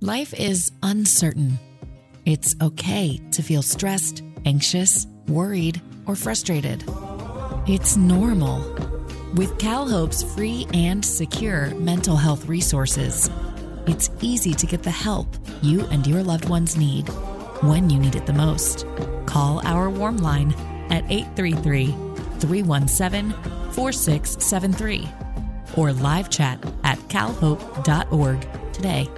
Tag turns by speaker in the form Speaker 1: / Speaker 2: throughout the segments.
Speaker 1: Life is uncertain. It's okay to feel stressed, anxious, worried, or frustrated. It's normal. With CalHope's free and secure mental health resources, it's easy to get the help you and your loved ones need when you need it the most. Call our warm line at 833 317 4673 or live chat at calhope.org today.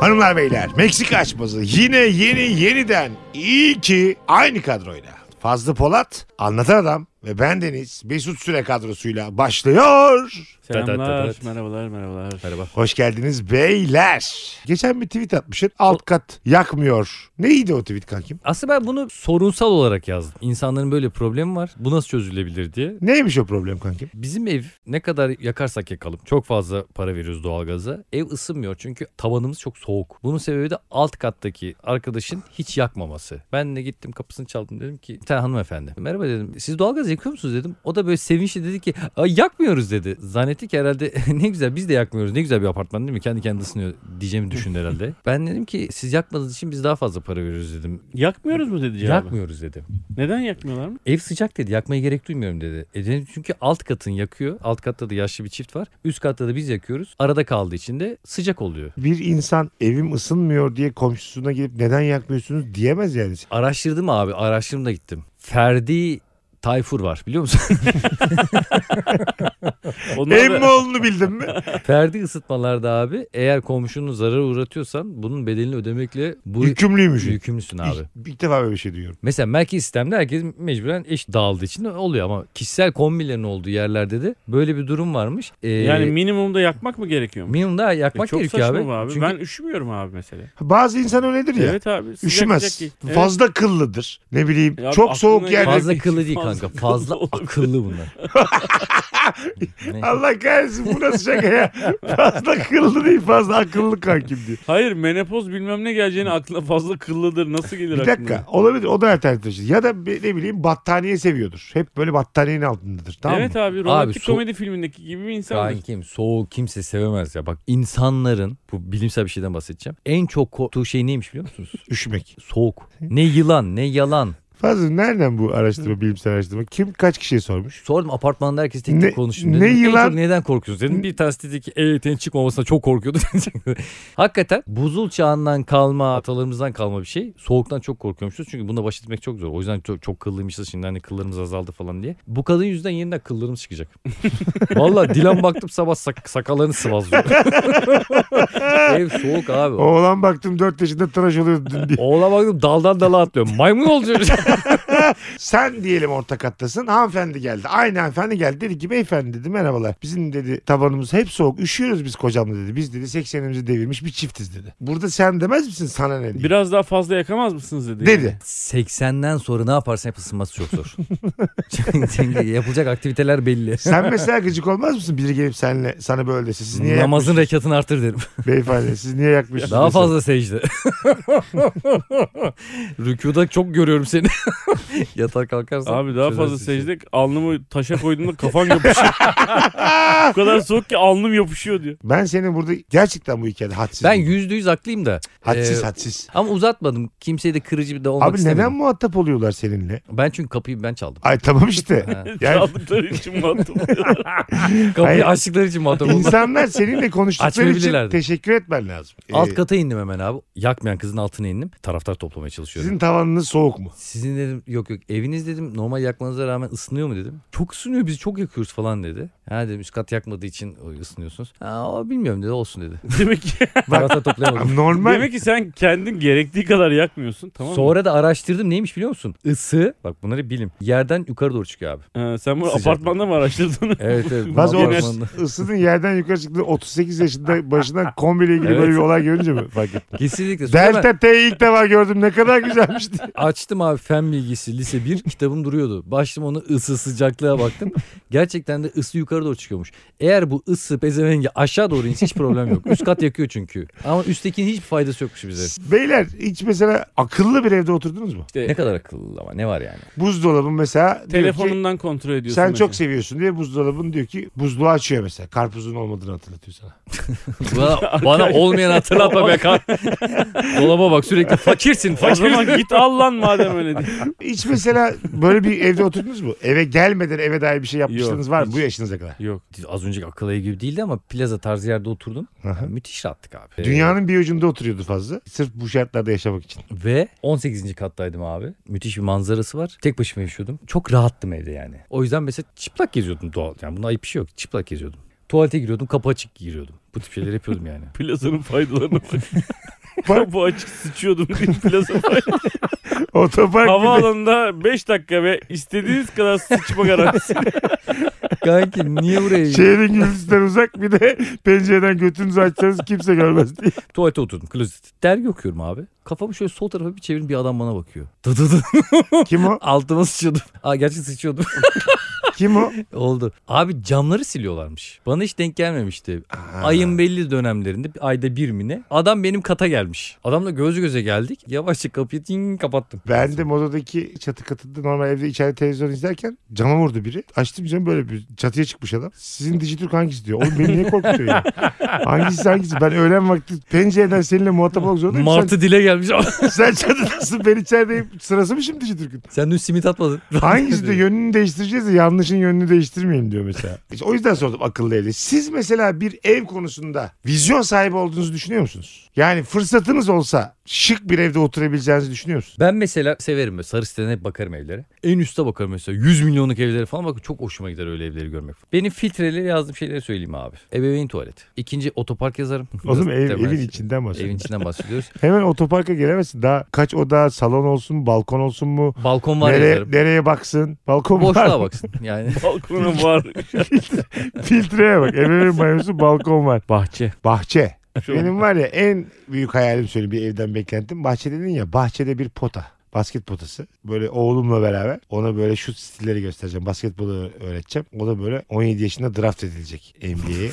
Speaker 2: Hanımlar beyler Meksika açması yine yeni yeniden iyi ki aynı kadroyla. Fazlı Polat, Anlatan Adam ve bendeniz Mesut Süre kadrosuyla başlıyor.
Speaker 3: Da, da, da,
Speaker 4: Selamlar,
Speaker 3: da.
Speaker 4: merhabalar, merhabalar.
Speaker 3: Merhaba.
Speaker 2: Hoş geldiniz beyler. Geçen bir tweet atmışsın alt kat yakmıyor. Neydi o tweet kankim?
Speaker 3: Aslında ben bunu sorunsal olarak yazdım. İnsanların böyle problemi var. Bu nasıl çözülebilir diye.
Speaker 2: Neymiş o problem kankim?
Speaker 3: Bizim ev ne kadar yakarsak yakalım çok fazla para veriyoruz doğalgaza. Ev ısınmıyor çünkü tavanımız çok soğuk. Bunun sebebi de alt kattaki arkadaşın hiç yakmaması. Ben de gittim kapısını çaldım dedim ki bir tane hanımefendi. Merhaba dedim siz doğalgaz yakıyor musunuz dedim. O da böyle sevinçli dedi ki "Ay, yakmıyoruz dedi. Zannetti ki herhalde ne güzel biz de yakmıyoruz ne güzel bir apartman değil mi kendi kendine ısınıyor diyeceğimi düşündü herhalde. ben dedim ki siz yakmadığınız için biz daha fazla para veriyoruz dedim.
Speaker 4: Yakmıyoruz mu dedi cevabı?
Speaker 3: Yakmıyoruz dedi.
Speaker 4: Neden yakmıyorlar mı?
Speaker 3: Ev sıcak dedi yakmaya gerek duymuyorum dedi. E dedim çünkü alt katın yakıyor. Alt katta da yaşlı bir çift var. Üst katta da biz yakıyoruz. Arada kaldığı için de sıcak oluyor.
Speaker 2: Bir insan evim ısınmıyor diye komşusuna gidip neden yakmıyorsunuz diyemez yani.
Speaker 3: Araştırdım abi araştırdım da gittim. Ferdi Tayfur var biliyor musun?
Speaker 4: Onlar
Speaker 2: Emmi
Speaker 4: da,
Speaker 2: oğlunu bildin mi?
Speaker 3: Ferdi ısıtmalarda abi eğer komşunu zarara uğratıyorsan bunun bedelini ödemekle bu
Speaker 4: şey.
Speaker 2: Yükümlüymüş.
Speaker 3: yükümlüsün abi.
Speaker 2: İlk, ilk defa böyle bir şey duyuyorum.
Speaker 3: Mesela merkez sistemde herkes mecburen eş dağıldığı için oluyor ama kişisel kombilerin olduğu yerlerde de böyle bir durum varmış. Ee,
Speaker 4: yani minimumda yakmak mı gerekiyor mu?
Speaker 3: minimum daha yakmak
Speaker 4: E, çok
Speaker 3: gerekiyor
Speaker 4: saçma
Speaker 3: abi.
Speaker 4: bu abi.
Speaker 3: Çünkü
Speaker 4: Ben üşümüyorum abi mesela.
Speaker 2: Bazı insan öyledir ya.
Speaker 4: Evet abi. sıcak
Speaker 2: Üşümez.
Speaker 4: sıcak giy. Evet.
Speaker 2: Fazla kıllıdır. Ne bileyim
Speaker 4: Ya
Speaker 2: çok
Speaker 4: aklına
Speaker 2: soğuk
Speaker 4: gelen-
Speaker 2: yerde.
Speaker 3: Fazla akıllı değil
Speaker 4: Fazla
Speaker 3: kanka. Fazla
Speaker 4: akıllı olabilir.
Speaker 3: akıllı bunlar. Ne?
Speaker 2: Allah kahretsin bu nasıl şaka ya. Fazla kıllı değil fazla akıllı kankim diyor.
Speaker 4: Hayır menopoz bilmem ne geleceğini aklına fazla kıllıdır. Nasıl gelir
Speaker 2: Bir
Speaker 4: aklına?
Speaker 2: dakika olabilir o da alternatif. taşıyor. Ya da bir- ne bileyim battaniye seviyordur. Hep böyle battaniyenin altındadır tamam
Speaker 4: evet
Speaker 2: mı?
Speaker 4: abi romantik
Speaker 3: so-
Speaker 4: komedi filmindeki gibi bir insandır.
Speaker 3: Kankim soğuk kimse sevemez ya. Bak insanların bu bilimsel bir şeyden bahsedeceğim. En çok korktuğu şey neymiş biliyor musunuz?
Speaker 2: Üşümek.
Speaker 3: Soğuk. Ne yılan ne yalan.
Speaker 2: Fazla nereden bu araştırma bilimsel araştırma? Kim kaç kişiye sormuş?
Speaker 3: Sordum apartmanda herkes tek
Speaker 2: Ne-
Speaker 3: tek konuştu.
Speaker 2: ne
Speaker 3: Dedim, "En
Speaker 2: yılan?"
Speaker 3: çok neden korkuyorsunuz dedim. Bir tanesi dedi ki EYT'nin çıkmamasına çok korkuyordu. Hakikaten buzul çağından kalma atalarımızdan kalma bir şey. Soğuktan çok korkuyormuşuz. Çünkü bununla baş etmek çok zor. O yüzden çok, çok kıllıymışız şimdi hani kıllarımız azaldı falan diye. Bu kadın yüzünden yeniden kıllarımız çıkacak. Valla Dilan baktım sabah sak- sakallarını sıvazlıyor. Ev soğuk abi.
Speaker 2: Oğlan baktım 4 yaşında tıraş oluyordu dün diye.
Speaker 3: Oğla baktım daldan dala atlıyor. Maymun olacak.
Speaker 2: Sen diyelim orta kattasın. Hanımefendi geldi. Aynı hanımefendi geldi. Dedi ki beyefendi dedi merhabalar. Bizim dedi tabanımız hep soğuk. Üşüyoruz biz kocamla dedi. Biz dedi 80'imizi devirmiş bir çiftiz dedi. Burada sen demez misin sana ne diye.
Speaker 4: Biraz daha fazla yakamaz mısınız dedi. yani.
Speaker 2: Dedi.
Speaker 3: 80'den sonra ne yaparsan yap ısınması çok zor. Çünkü yapılacak aktiviteler belli.
Speaker 2: Sen mesela gıcık olmaz mısın? Biri gelip seninle sana böyle dese. Siz niye
Speaker 3: Namazın rekatını artır derim.
Speaker 2: yakmışsınız? Beyefendi siz niye yakmışsınız?
Speaker 3: Daha
Speaker 2: dese.
Speaker 3: fazla secde. Rükuda çok görüyorum seni. Yatar kalkarsan.
Speaker 4: Abi daha fazla
Speaker 3: çözersin işi.
Speaker 4: secde alnımı taşa koyduğumda kafam yapışıyor. Bu kadar soğuk ki alnım yapışıyor diyor.
Speaker 2: Ben senin burada gerçekten bu hikayede hadsiz.
Speaker 3: Ben yüzde yüz haklıyım da.
Speaker 2: hadsiz
Speaker 3: Ee,
Speaker 2: hadsiz.
Speaker 3: Ama uzatmadım. Kimseye de kırıcı bir de olmak
Speaker 2: Abi
Speaker 3: istemedim.
Speaker 2: neden muhatap oluyorlar seninle?
Speaker 3: Ben çünkü kapıyı ben çaldım.
Speaker 2: Ay tamam işte.
Speaker 3: Ha.
Speaker 2: yani
Speaker 4: Çaldıkları için mantıklı.
Speaker 3: Kapıyı
Speaker 2: Hayır.
Speaker 3: açtıkları için muhatap oldum.
Speaker 2: insanlar seninle konuştukları için
Speaker 3: Açmayabilirlerdi.
Speaker 2: teşekkür etmen lazım. Ee,
Speaker 3: Alt kata indim hemen abi. Yakmayan kızın altına indim. Taraftar toplamaya çalışıyorum.
Speaker 2: Sizin tavanınız soğuk mu?
Speaker 3: Sizin dedim yok yok eviniz dedim normal yakmanıza rağmen ısınıyor mu dedim. Çok ısınıyor biz çok yakıyoruz falan dedi. Ha dedim üst kat yakmadığı için ısınıyorsunuz. Ha o bilmiyorum dedi olsun dedi.
Speaker 4: Demek ki,
Speaker 3: Tarafta toplayamadım.
Speaker 2: Normal.
Speaker 4: demek ki sen kendin gerektiği kadar yakmıyorsun tamam mı?
Speaker 3: Sonra da araştırdım neymiş biliyor musun? Isı bak bunları bilim. Yerden yukarı doğru çıkıyor abi.
Speaker 4: Ee, sen bunu
Speaker 3: Sıcak.
Speaker 4: apartmanda mı araştırdın?
Speaker 3: Evet evet. bu
Speaker 2: Bazı o
Speaker 3: apartmanda.
Speaker 2: ısının yerden yukarı çıktığı 38 yaşında başından kombiyle ilgili
Speaker 3: Evet.
Speaker 2: böyle bir olay görünce mi fark ettin?
Speaker 3: Kesinlikle. Sonra ben
Speaker 2: Delta T'yi ilk defa gördüm ne kadar güzelmiş diye.
Speaker 3: açtım abi fen bilgisi lise 1 kitabım duruyordu. Başladım onu ısı sıcaklığa baktım. Gerçekten de ısı yukarı doğru çıkıyormuş. Eğer bu ısı pezevengi aşağı doğru inse hiç problem yok. Üst kat yakıyor çünkü. Ama üsttekinin hiçbir faydası yokmuş bize.
Speaker 2: Beyler hiç mesela akıllı bir evde oturdunuz mu?
Speaker 3: Ne kadar akıllı ama ne var yani.
Speaker 2: Buzdolabın mesela diyor ki,
Speaker 4: Telefonundan kontrol ediyorsun.
Speaker 2: sen
Speaker 4: mesela.
Speaker 2: çok seviyorsun diye buzdolabın diyor ki buzluğu açıyor mesela. Karpuzun olmadığını hatırlatıyor sana.
Speaker 3: Bana, bana olmayan hatırlatma be kar. Dolaba bak sürekli fakirsin
Speaker 4: O
Speaker 3: fakir.
Speaker 4: zaman git al lan madem öyle diye.
Speaker 2: Hiç mesela böyle bir evde oturdunuz mu? Eve gelmeden eve dair bir şey yapmışlığınız
Speaker 4: Yok,
Speaker 2: var mı
Speaker 4: hiç.
Speaker 2: bu yaşınıza kadar?
Speaker 4: Yok.
Speaker 3: Az önceki akıl ayı gibi değildi ama plaza tarzı yerde oturdum.
Speaker 2: Aha.
Speaker 3: Müthiş rahattık abi. Ee,
Speaker 2: Dünyanın bir ucunda oturuyordu fazla. Sırf bu şartlarda yaşamak için.
Speaker 3: Ve 18. kattaydım abi. Müthiş bir manzarası var. Tek başıma yaşıyordum. Çok rahattım evde yani. O yüzden mesela çıplak geziyordum doğal. Yani bunda ayıp bir şey yok. Çıplak geziyordum. Tuvalete giriyordum. Kapı açık giriyordum. Bu tip şeyler yapıyordum yani.
Speaker 4: Plazanın faydalarına bak. Bu açık sıçıyordum diye plaza faydaları.
Speaker 2: Otopark bir de-
Speaker 4: Havaalanında 5 dakika ve istediğiniz kadar sıçma garantisi.
Speaker 3: Kanki niye buraya?
Speaker 2: Şehrin gürültüsünden uzak bir de pencereden götünüzü açsanız kimse görmez diye.
Speaker 3: Tuvalete oturdum. Klozet. Dergi okuyorum abi. Kafamı şöyle sol tarafa bir çevirin bir adam bana bakıyor. Dı dı dı.
Speaker 2: Kim o?
Speaker 3: Altıma sıçıyordum. Aa gerçi sıçıyordum.
Speaker 2: Kim o?
Speaker 3: Oldu. Abi camları siliyorlarmış. Bana hiç denk gelmemişti. Ayın belli dönemlerinde ayda bir mi ne? Adam benim kata gelmiş. Adamla göz göze geldik. Yavaşça kapıyı ting kapattım.
Speaker 2: Ben de modadaki çatı katında normal evde içeride televizyon izlerken cama vurdu biri. Açtım camı böyle bir çatıya çıkmış adam. Sizin Dijitürk hangisi diyor. Oğlum beni niye korkutuyor ya? Hangisi hangisi? Ben öğlen vakti pencereden seninle muhatap olmak zorundayım.
Speaker 3: Martı dile gelmiş.
Speaker 2: Sen, sen çatıdasın ben içerideyim. Sırası mı şimdi Dijitürk'ün?
Speaker 3: Sen dün simit atmadın.
Speaker 2: Hangisi de yönünü değiştireceğiz de yanlışın yönünü değiştirmeyeyim diyor mesela. İşte o yüzden sordum akıllı evde. Siz mesela bir ev konusunda vizyon sahibi olduğunuzu düşünüyor musunuz? Yani fırsatınız olsa şık bir evde oturabileceğinizi düşünüyor musunuz?
Speaker 3: Ben mesela severim böyle sarı siteden hep bakarım evlere. En üste bakarım mesela 100 milyonluk evlere falan bak çok hoşuma gider öyle evleri görmek. Benim filtreyle yazdığım şeyleri söyleyeyim abi. Ebeveyn tuvalet. İkinci otopark yazarım.
Speaker 2: Oğlum
Speaker 3: Biraz
Speaker 2: ev,
Speaker 3: temel
Speaker 2: evin
Speaker 3: şey.
Speaker 2: içinden bahsediyorum.
Speaker 3: Evin içinden bahsediyoruz.
Speaker 2: Hemen otoparka gelemezsin. Daha kaç oda, salon olsun, balkon olsun mu?
Speaker 3: Balkon var
Speaker 2: nereye,
Speaker 3: yazarım.
Speaker 2: nereye baksın? Balkon var.
Speaker 3: Boşluğa
Speaker 2: mı?
Speaker 3: baksın yani.
Speaker 4: Balkona var.
Speaker 2: Filtreye bak. Evimin banyosu balkon var.
Speaker 4: Bahçe.
Speaker 2: Bahçe.
Speaker 4: Şu-
Speaker 2: Benim var ya en büyük hayalim şöyle bir evden beklentim. Bahçe dedin ya bahçede bir pota. Basket potası. Böyle oğlumla beraber ona böyle şut stilleri göstereceğim. Basketbolu öğreteceğim. O da böyle 17 yaşında draft edilecek NBA'ye.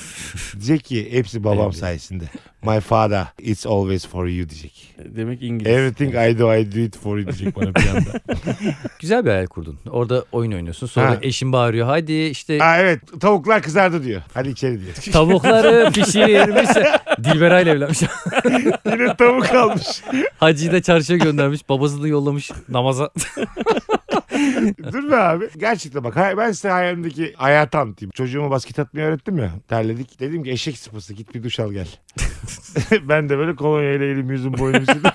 Speaker 2: diyecek ki hepsi babam
Speaker 3: NBA.
Speaker 2: sayesinde. My father it's always for you diyecek.
Speaker 4: Demek İngiliz.
Speaker 2: Everything I do I do it for you diyecek bana bir anda.
Speaker 3: Güzel bir hayal kurdun. Orada oyun oynuyorsun. Sonra
Speaker 2: Ha.
Speaker 3: eşin bağırıyor. Hadi işte
Speaker 2: Aa evet tavuklar kızardı diyor. Hadi içeri diyor.
Speaker 3: tavukları pişirmiş. Dilberay ile evlenmiş.
Speaker 2: Yine tavuk almış.
Speaker 3: Hacı'yı da çarşıya göndermiş. Babasını yollamış namaza.
Speaker 2: Dur be abi. Gerçekten bak hay- ben size hayalimdeki hayatı anlatayım. Çocuğuma basket atmayı öğrettim ya. Terledik. Dedim ki eşek sıpası git bir duş al gel. ben de böyle kolonyayla elim yüzüm boynum sildim.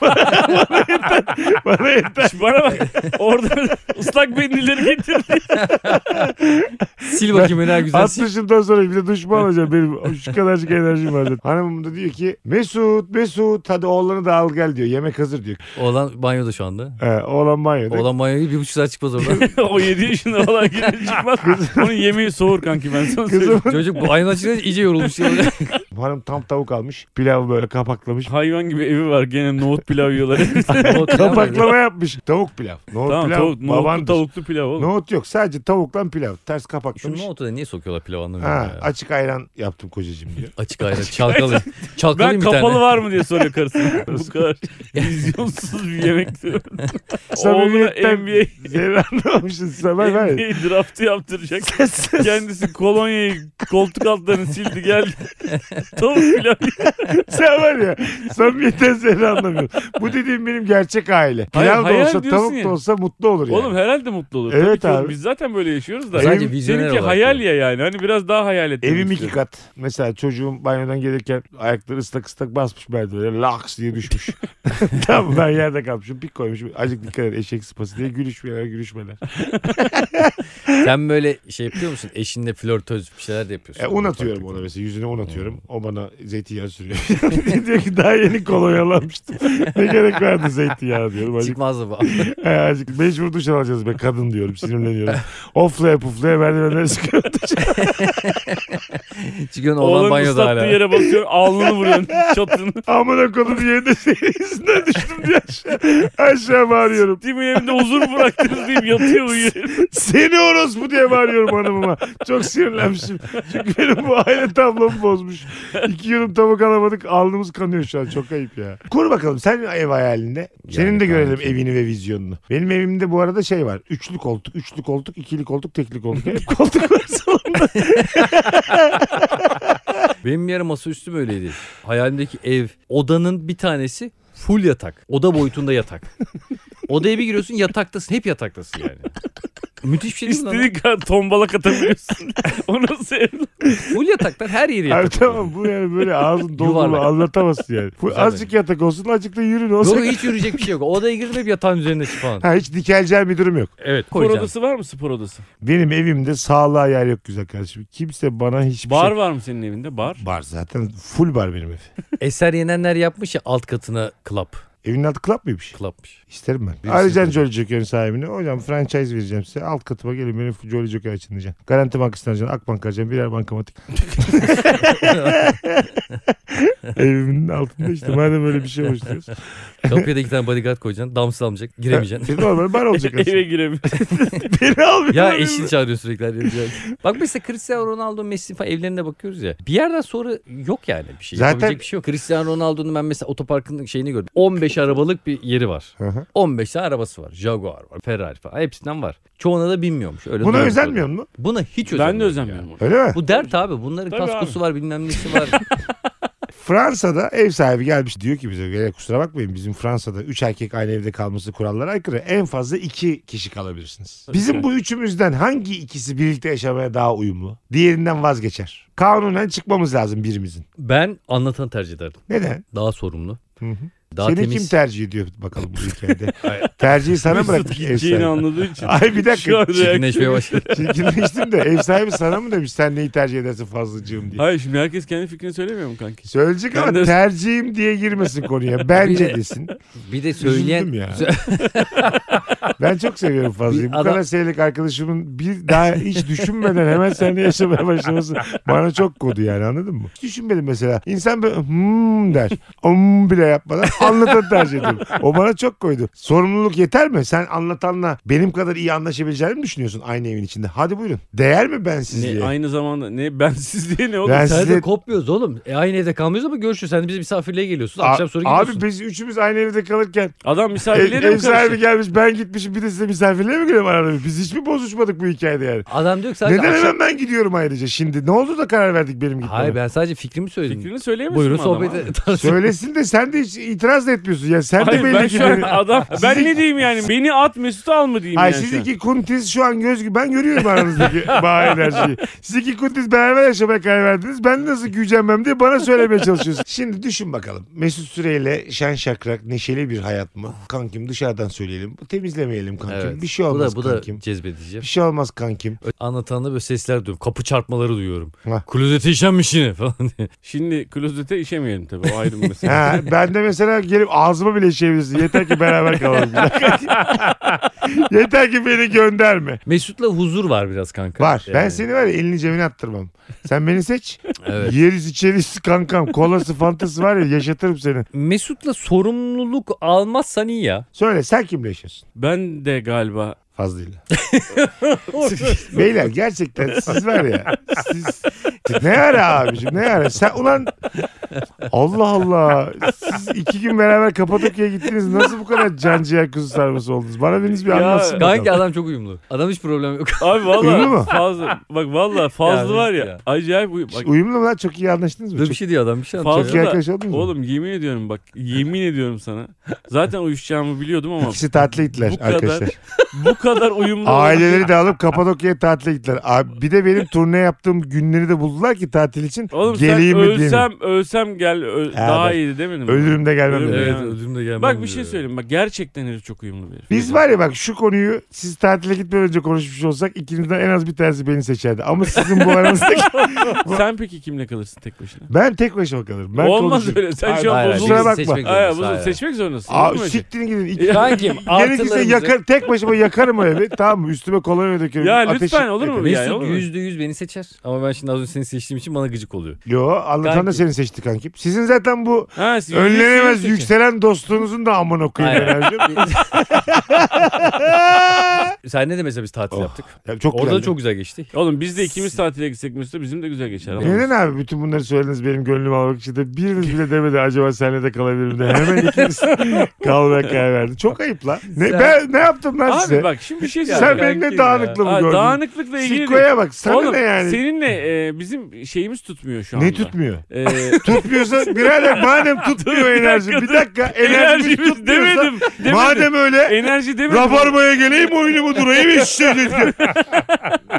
Speaker 2: bana yeter. Bana yeter.
Speaker 4: Şimdi Bana E, bak. Orada ıslak bendilleri getir.
Speaker 3: Sil bakayım en güzel.
Speaker 2: At
Speaker 3: sil.
Speaker 2: dışımdan sonra bir de duş mu alacağım benim? Şu kadarcık enerjim var. zaten. Hanımım da diyor ki Mesut Mesut hadi oğlanı da al gel diyor. Yemek hazır diyor.
Speaker 3: Oğlan banyoda şu anda.
Speaker 2: Ee, oğlan banyoda.
Speaker 3: Oğlan banyoyu bir buçuk saat çıkmaz oradan.
Speaker 4: o 7 yaşında olan gelir çıkmaz. Onun yemeği soğur kanki ben sana söyleyeyim.
Speaker 2: Kızım
Speaker 3: Çocuk bu ayın açıkçası iyice yorulmuş. yani.
Speaker 2: hanım tam tavuk almış. Pilavı böyle kapaklamış.
Speaker 4: Hayvan gibi evi var gene nohut pilav yiyorlar.
Speaker 2: Kapaklama yapmış. Tavuk pilav. Nohut
Speaker 4: tamam
Speaker 2: pilav.
Speaker 4: tavuk, nohutlu
Speaker 2: babandır.
Speaker 4: tavuklu pilav oğlum.
Speaker 2: Nohut yok. Sadece tavukla pilav. Ters
Speaker 3: Şu
Speaker 2: kapaklamış.
Speaker 3: nohutu da niye sokuyorlar pilav anlamıyorum
Speaker 2: Ha,
Speaker 3: ya.
Speaker 2: açık ayran yaptım kocacığım diyor.
Speaker 3: Açık ayran çalkalı.
Speaker 4: Ben
Speaker 3: Çalkalayayım bir
Speaker 4: kapalı
Speaker 3: tane.
Speaker 4: var mı diye soruyor karısına. Bu kadar vizyonsuz bir yemek diyor. Oğluna
Speaker 2: Samimiyetten
Speaker 4: NBA,
Speaker 2: Zerre anlamamışsın. Sabah var.
Speaker 4: NBA draftı yaptıracak. Kendisi kolonyayı koltuk altlarını sildi geldi. tavuk pilav
Speaker 2: Sen var ya. Samimiyetten zerre anlamıyorum. Bu dediğim benim gerçek aile.
Speaker 4: Hayır,
Speaker 2: Pilav da
Speaker 4: hayal
Speaker 2: olsa
Speaker 4: diyorsun
Speaker 2: tavuk
Speaker 4: ya.
Speaker 2: da olsa mutlu olur yani.
Speaker 4: Oğlum herhalde mutlu olur.
Speaker 2: Evet
Speaker 4: ki oğlum,
Speaker 2: abi.
Speaker 4: Biz zaten böyle yaşıyoruz da.
Speaker 3: Sadece
Speaker 4: Ev-
Speaker 3: vizyoner
Speaker 4: Seninki
Speaker 3: olarak
Speaker 4: hayal
Speaker 3: yani.
Speaker 4: ya yani. Hani biraz daha hayal et.
Speaker 2: Evim iki kat. Mesela çocuğum banyodan gelirken ayakları ıslak ıslak basmış merdivene. Laks diye düşmüş. Tam ben yerde kalmışım. Pik koymuşum. Azıcık dikkat et eşek sıpası diye gülüşmeler gülüşmeler.
Speaker 3: Sen böyle şey yapıyor musun? Eşinle flörtöz bir şeyler de yapıyorsun.
Speaker 2: E, un atıyorum ona E, mesela. Yüzüne un atıyorum. O O bana zeytinyağı sürüyor. diyor ki daha yeni kolonyalanmıştım. ne gerek vardı zeytinyağı diyorum. Azıcık,
Speaker 3: Çıkmaz mı bu?
Speaker 2: he, azıcık mecbur duş alacağız be kadın diyorum. Sinirleniyorum. Oflaya puflaya merdivenlere çıkıyorum.
Speaker 3: Çıkıyorsun oğlan
Speaker 4: Oğlan
Speaker 3: banyoda
Speaker 4: ıslattığı
Speaker 3: hala.
Speaker 4: yere bakıyorsun alnını vuruyorsun çatını.
Speaker 2: Amına kodum yerine senin yüzünden şey, düştüm diye aşağı, aşağı bağırıyorum.
Speaker 4: Değil mi evimde huzur bıraktınız diyeyim yatıyor uyuyor.
Speaker 2: Seni orospu diye bağırıyorum hanımıma. Çok sinirlenmişim. Çünkü benim bu aile tablomu bozmuş. İki yudum tavuk alamadık. Alnımız kanıyor şu an. Çok ayıp ya. Kur bakalım sen ev hayalinde. Senin
Speaker 3: Yani
Speaker 2: de görelim
Speaker 3: kanki.
Speaker 2: evini ve vizyonunu. Benim evimde bu arada şey var. Üçlü koltuk, üçlü koltuk, ikili koltuk, tekli koltuk. Hep koltuk var salonda.
Speaker 3: Benim bir ara masaüstüm öyleydi. Hayalimdeki ev, odanın bir tanesi full yatak. Oda boyutunda yatak. Odaya bir giriyorsun yataktasın. Hep yataktasın yani. Müthiş bir şey değil mi lan?
Speaker 4: İstediğin kadar tombalak atabiliyorsun. o nasıl ev?
Speaker 3: Full yataklar her yeri
Speaker 2: Abi
Speaker 3: yatak.
Speaker 2: tamam bu yani böyle ağzın dolduğunu
Speaker 3: Yuvarlak.
Speaker 2: anlatamazsın yani. Bu
Speaker 3: Güzel
Speaker 2: azıcık yatak olsun azıcık da yürün olsun.
Speaker 3: Doğru hiç yürüyecek bir şey yok. Odaya girdim hep yatağın üzerinde falan.
Speaker 2: Ha, hiç dikeleceğim bir durum yok.
Speaker 3: Evet
Speaker 4: Spor
Speaker 3: koyacağım.
Speaker 4: odası var mı spor odası?
Speaker 2: Benim evimde sağlığa yer yok güzel kardeşim. Kimse bana hiçbir
Speaker 4: Bar
Speaker 2: şey...
Speaker 4: var mı senin evinde? Bar.
Speaker 2: Bar zaten full bar benim ev.
Speaker 3: Eser yenenler yapmış ya alt katına club.
Speaker 2: Evin adı club mıymış?
Speaker 3: Clubmış.
Speaker 2: İsterim ben.
Speaker 3: Bir
Speaker 2: Arayacaksın
Speaker 3: sürü.
Speaker 2: Jolly Joker'in sahibini. Hocam franchise vereceğim size. Alt katıma gelin beni Jolly Joker açın diyeceksin. Garanti Bankası'ndan alacaksın. Akbank arayacaksın. Birer bankamatik. Evimin altında işte. Madem öyle bir şey oluşturuyoruz.
Speaker 3: Kapıya da iki tane bodyguard koyacaksın. Damsız almayacak. Giremeyeceksin.
Speaker 2: Bir normal bar olacak aslında.
Speaker 4: Eve giremiyor.
Speaker 2: Beni almıyor.
Speaker 3: ya eşini çağırıyor sürekli. her yere. Bak mesela Cristiano Ronaldo, Messi falan evlerine bakıyoruz ya. Bir yerden sonra yok yani bir şey.
Speaker 2: Zaten-
Speaker 3: Yapabilecek bir şey yok. Cristiano Ronaldo'nun ben mesela otoparkının şeyini gördüm. 15 arabalık bir yeri var.
Speaker 2: Hı hı.
Speaker 3: 15 tane arabası var. Jaguar var, Ferrari falan. Hepsinden var. Çoğuna da binmiyormuş. Öyle
Speaker 2: Buna
Speaker 3: duruyor.
Speaker 2: özenmiyor mu?
Speaker 3: Buna hiç özenmiyorum.
Speaker 4: ben de özenmiyorum. ona.
Speaker 2: Öyle mi?
Speaker 3: Bu dert abi. Bunların
Speaker 4: Tabii
Speaker 3: kaskosu var bilmem nesi var.
Speaker 2: Fransa'da ev sahibi gelmiş diyor ki bize "Ya kusura bakmayın bizim Fransa'da 3 erkek aynı evde kalması kurallara aykırı. En fazla 2 kişi kalabilirsiniz. Bizim bu üçümüzden hangi ikisi birlikte yaşamaya daha uyumlu? Diğerinden vazgeçer. Kanunen çıkmamız lazım birimizin.
Speaker 3: ben anlatan tercih ederdim.
Speaker 2: Neden?
Speaker 3: Daha sorumlu.
Speaker 2: Hı hı.
Speaker 3: Daha
Speaker 2: Seni
Speaker 3: temiz.
Speaker 2: kim tercih ediyor bakalım bu hikayede? Tercihi sana
Speaker 4: Mesut
Speaker 2: bırakmış ev
Speaker 4: gideceğini
Speaker 2: sahibi.
Speaker 4: anladığı için.
Speaker 2: Ay bir
Speaker 4: Şu
Speaker 2: dakika.
Speaker 4: an
Speaker 3: Çirkinleşmeye
Speaker 4: reaksiyon-
Speaker 3: başladı.
Speaker 2: Çirkinleştim de ev sahibi sana mı demiş sen neyi tercih edersin fazlacığım diye.
Speaker 4: Hayır şimdi herkes kendi fikrini söylemiyor mu kanki?
Speaker 2: Söyleyecek ama
Speaker 4: Ben de-
Speaker 2: tercihim diye girmesin konuya. Bence
Speaker 3: Bir-
Speaker 2: desin.
Speaker 3: Bir de söyleyen...
Speaker 2: Üzüldüm ya. Ben çok seviyorum Fazlı'yı.
Speaker 3: Bir
Speaker 2: Bu
Speaker 3: adam-
Speaker 2: kadar seyrek arkadaşımın bir daha hiç düşünmeden hemen seninle yaşamaya başlaması bana çok kodu yani anladın mı? Hiç düşünmedim mesela. İnsan böyle hmm der. Hmm bile yapmadan anlatan tercih ediyorum. O bana çok koydu. Sorumluluk yeter mi? Sen anlatanla benim kadar iyi anlaşabileceğini mi düşünüyorsun aynı evin içinde? Hadi buyurun. Değer mi bensizliğe?
Speaker 4: Ne, aynı zamanda ne bensizliğe ne oğlum?
Speaker 2: Ben
Speaker 3: Sen
Speaker 2: size-
Speaker 3: de kopmuyoruz oğlum. E, aynı evde kalmıyoruz ama görüşürüz. Sen de bize misafirliğe geliyorsun.
Speaker 2: A-
Speaker 3: Akşam sonra gidiyorsun.
Speaker 2: Abi biz üçümüz aynı evde kalırken
Speaker 4: Adam
Speaker 2: ev,
Speaker 4: misafirlere
Speaker 2: ev
Speaker 4: mi
Speaker 2: sahibi
Speaker 4: karşı?
Speaker 2: gelmiş ben gitmişim bir de size misafirliğe mi geliyorum arada? Biz hiç mi bozuşmadık bu hikayede yani?
Speaker 3: Adam diyor ki sadece
Speaker 2: Neden
Speaker 3: akşam...
Speaker 2: hemen ben gidiyorum ayrıca şimdi? Ne oldu da karar verdik benim gitmeme?
Speaker 3: Hayır ben sadece fikrimi söyledim.
Speaker 4: Fikrini söyleyemezsin
Speaker 3: Buyurun
Speaker 4: mi adama?
Speaker 3: sohbete tanışın.
Speaker 2: Söylesin de sen de hiç itiraz da etmiyorsun. Ya sen de
Speaker 4: Hayır
Speaker 2: belli
Speaker 4: ben
Speaker 2: ki...
Speaker 4: şu an
Speaker 2: beni-
Speaker 4: adam ben ne diyeyim yani beni at Mesut al mı diyeyim
Speaker 2: Hayır
Speaker 4: yani
Speaker 2: siz
Speaker 4: şu an?
Speaker 2: iki kuntiz şu an göz gibi ben görüyorum aranızdaki bağ enerjiyi. Siz iki kuntiz beraber yaşamaya karar verdiniz. Ben nasıl gücenmem diye bana söylemeye çalışıyorsun. Şimdi düşün bakalım. Mesut Süreyle şen şakrak neşeli bir hayat mı? Kankim dışarıdan söyleyelim. Temizlemeyelim kankim.
Speaker 3: Evet.
Speaker 2: Bir şey olmaz
Speaker 3: bu da, bu
Speaker 2: kankim.
Speaker 3: da cezbedici.
Speaker 2: Bir şey olmaz kankim.
Speaker 3: Anlatanda böyle sesler duyuyorum. Kapı çarpmaları duyuyorum.
Speaker 2: Ha.
Speaker 3: Klozete işenmiş yine falan diye.
Speaker 4: Şimdi klozete işemeyelim tabii o ayrı bir mesele.
Speaker 2: Ha, ben de mesela gelip ağzıma bile işeyebilirsin. Yeter ki beraber kalalım. Yeter ki beni gönderme.
Speaker 3: Mesut'la huzur var biraz kanka.
Speaker 2: Var.
Speaker 3: Yani.
Speaker 2: Ben seni var ya elini cebine attırmam. Sen beni seç.
Speaker 3: Evet.
Speaker 2: Yeriz içeriz kankam. Kolası fantası var ya yaşatırım seni.
Speaker 3: Mesut'la sorumluluk almazsan iyi ya.
Speaker 2: Söyle sen kimle yaşıyorsun?
Speaker 4: Ben de galiba
Speaker 2: Fazlıyla. Beyler gerçekten siz var ya. Siz, ne ara abicim ne ara. Sen ulan Allah Allah. Siz iki gün beraber Kapadokya'ya gittiniz. Nasıl bu kadar canciğer kuzu sarması oldunuz? Bana biriniz bir
Speaker 4: Ya,
Speaker 2: anlatsın. bakalım.
Speaker 3: Kanki adam çok uyumlu. Adam hiç problem yok.
Speaker 4: abi
Speaker 2: Uyumlu mu?
Speaker 4: valla fazla bak valla fazla
Speaker 3: Ya,
Speaker 4: var ya,
Speaker 3: ya.
Speaker 4: acayip uyu-
Speaker 2: Hiç
Speaker 4: bak,
Speaker 2: Uyumlu mu lan? Çok iyi anlaştınız mı?
Speaker 3: Dur bir
Speaker 2: Çok
Speaker 3: şey diyor adam bir şey
Speaker 2: çok
Speaker 4: Fazla
Speaker 2: iyi
Speaker 4: da-
Speaker 2: arkadaş oldunuz mu?
Speaker 4: Oğlum yemin ediyorum bak yemin ediyorum sana. Zaten uyuşacağımı biliyordum ama
Speaker 2: İkisi tatile gittiler
Speaker 4: Bu kadar-
Speaker 2: arkadaşlar.
Speaker 4: bu kadar uyumlu.
Speaker 2: Aileleri de alıp Kapadokya'ya tatile gittiler. Abi, bir de benim turne yaptığım günleri de buldular ki tatil için.
Speaker 4: Oğlum
Speaker 2: geleyim
Speaker 4: sen
Speaker 2: mi diyeyim.
Speaker 4: ölsem ölsem gel ö-
Speaker 2: Ha,
Speaker 4: daha
Speaker 2: bak.
Speaker 4: iyiydi demedim mi?
Speaker 2: Ölürüm de gelmem.
Speaker 4: Ölürüm
Speaker 2: dedi.
Speaker 4: de
Speaker 3: Evet
Speaker 4: Yani.
Speaker 3: öldüğümde gelmem
Speaker 4: Bak bir şey
Speaker 3: diyor.
Speaker 4: söyleyeyim bak gerçekten herif çok uyumlu bir herif.
Speaker 2: Biz var ya bak şu konuyu siz tatile gitmeden önce konuşmuş olsak ikinizden en az bir tanesi beni seçerdi. Ama sizin bu aranızdaki...
Speaker 4: Sen peki kimle kalırsın tek başına?
Speaker 2: ben tek başıma kalırım. Ben
Speaker 4: Olmaz
Speaker 2: konuşurum.
Speaker 4: öyle. Sen
Speaker 2: Hayır,
Speaker 4: şu an
Speaker 3: Hayır,
Speaker 4: bozulma.
Speaker 2: Kusura
Speaker 3: bizi
Speaker 2: bakma.
Speaker 3: seçmek
Speaker 4: Hayır,
Speaker 3: zorundasın,
Speaker 4: bunu
Speaker 3: hayır.
Speaker 4: seçmek zorundasın. Olur
Speaker 2: Aa,
Speaker 4: mu öyle şey?
Speaker 2: siktirin gidin. İki-
Speaker 3: Kankim
Speaker 2: Gerekirse
Speaker 3: artılarımızı...
Speaker 2: yakar, tek başıma yakarım o evi. Tamam mı? Üstüme kolonya dökerim.
Speaker 4: Ya
Speaker 2: ateşi-
Speaker 4: lütfen olur mu? Yani, olur
Speaker 3: Mesut
Speaker 4: mu?
Speaker 3: yüzde yüz beni seçer. Ama ben şimdi az önce seni seçtiğim için bana gıcık oluyor.
Speaker 2: Yo anlatan da
Speaker 3: Kanki.
Speaker 2: seni seçti kankim. Sizin zaten bu
Speaker 4: Ha, siz
Speaker 2: önlenemez
Speaker 4: yüzde yüz seçin.
Speaker 2: yükselen dostluğunuzun da amına koyayım
Speaker 3: Aynen.
Speaker 2: herhalde.
Speaker 3: Sen ne de mesela biz tatil
Speaker 2: Oh,
Speaker 3: yaptık.
Speaker 2: Ya çok
Speaker 3: Orada
Speaker 2: güzeldi.
Speaker 3: da çok güzel geçti.
Speaker 4: Oğlum biz de ikimiz tatile gitsek Mesut'a bizim de güzel geçer. Ama-
Speaker 2: Neden abi bütün bunları söylediniz benim gönlümü almak için de biriniz bile demedi acaba senle de kalabilirim de hemen ikimiz kalmaya karar verdi. Çok ayıp lan. Ne,
Speaker 3: Sen-
Speaker 2: ben, ne yaptım ben size?
Speaker 4: Abi bak şimdi bir şey
Speaker 3: Ya
Speaker 2: sen
Speaker 4: söyleyeceğim.
Speaker 2: benim ne
Speaker 3: kankim ya.
Speaker 2: dağınıklığımı
Speaker 4: Aa,
Speaker 2: gördün.
Speaker 4: Dağınıklıkla ilgili değil.
Speaker 2: Sikoya bak sana
Speaker 4: Oğlum
Speaker 2: ne yani?
Speaker 4: seninle e, bizim şeyimiz tutmuyor şu anda.
Speaker 2: Ne tutmuyor?
Speaker 4: E,
Speaker 2: Tutmuyorsa birader madem tutmuyor
Speaker 4: Dur, bir
Speaker 2: enerji.
Speaker 4: dakika,
Speaker 2: Bir dakika enerjimiz
Speaker 4: enerjimiz
Speaker 2: tutmuyorsa.
Speaker 4: demedim. demedim.
Speaker 2: Madem öyle
Speaker 4: enerji demedim.
Speaker 2: Rabarba'ya geleyim oyunumu durayım işte.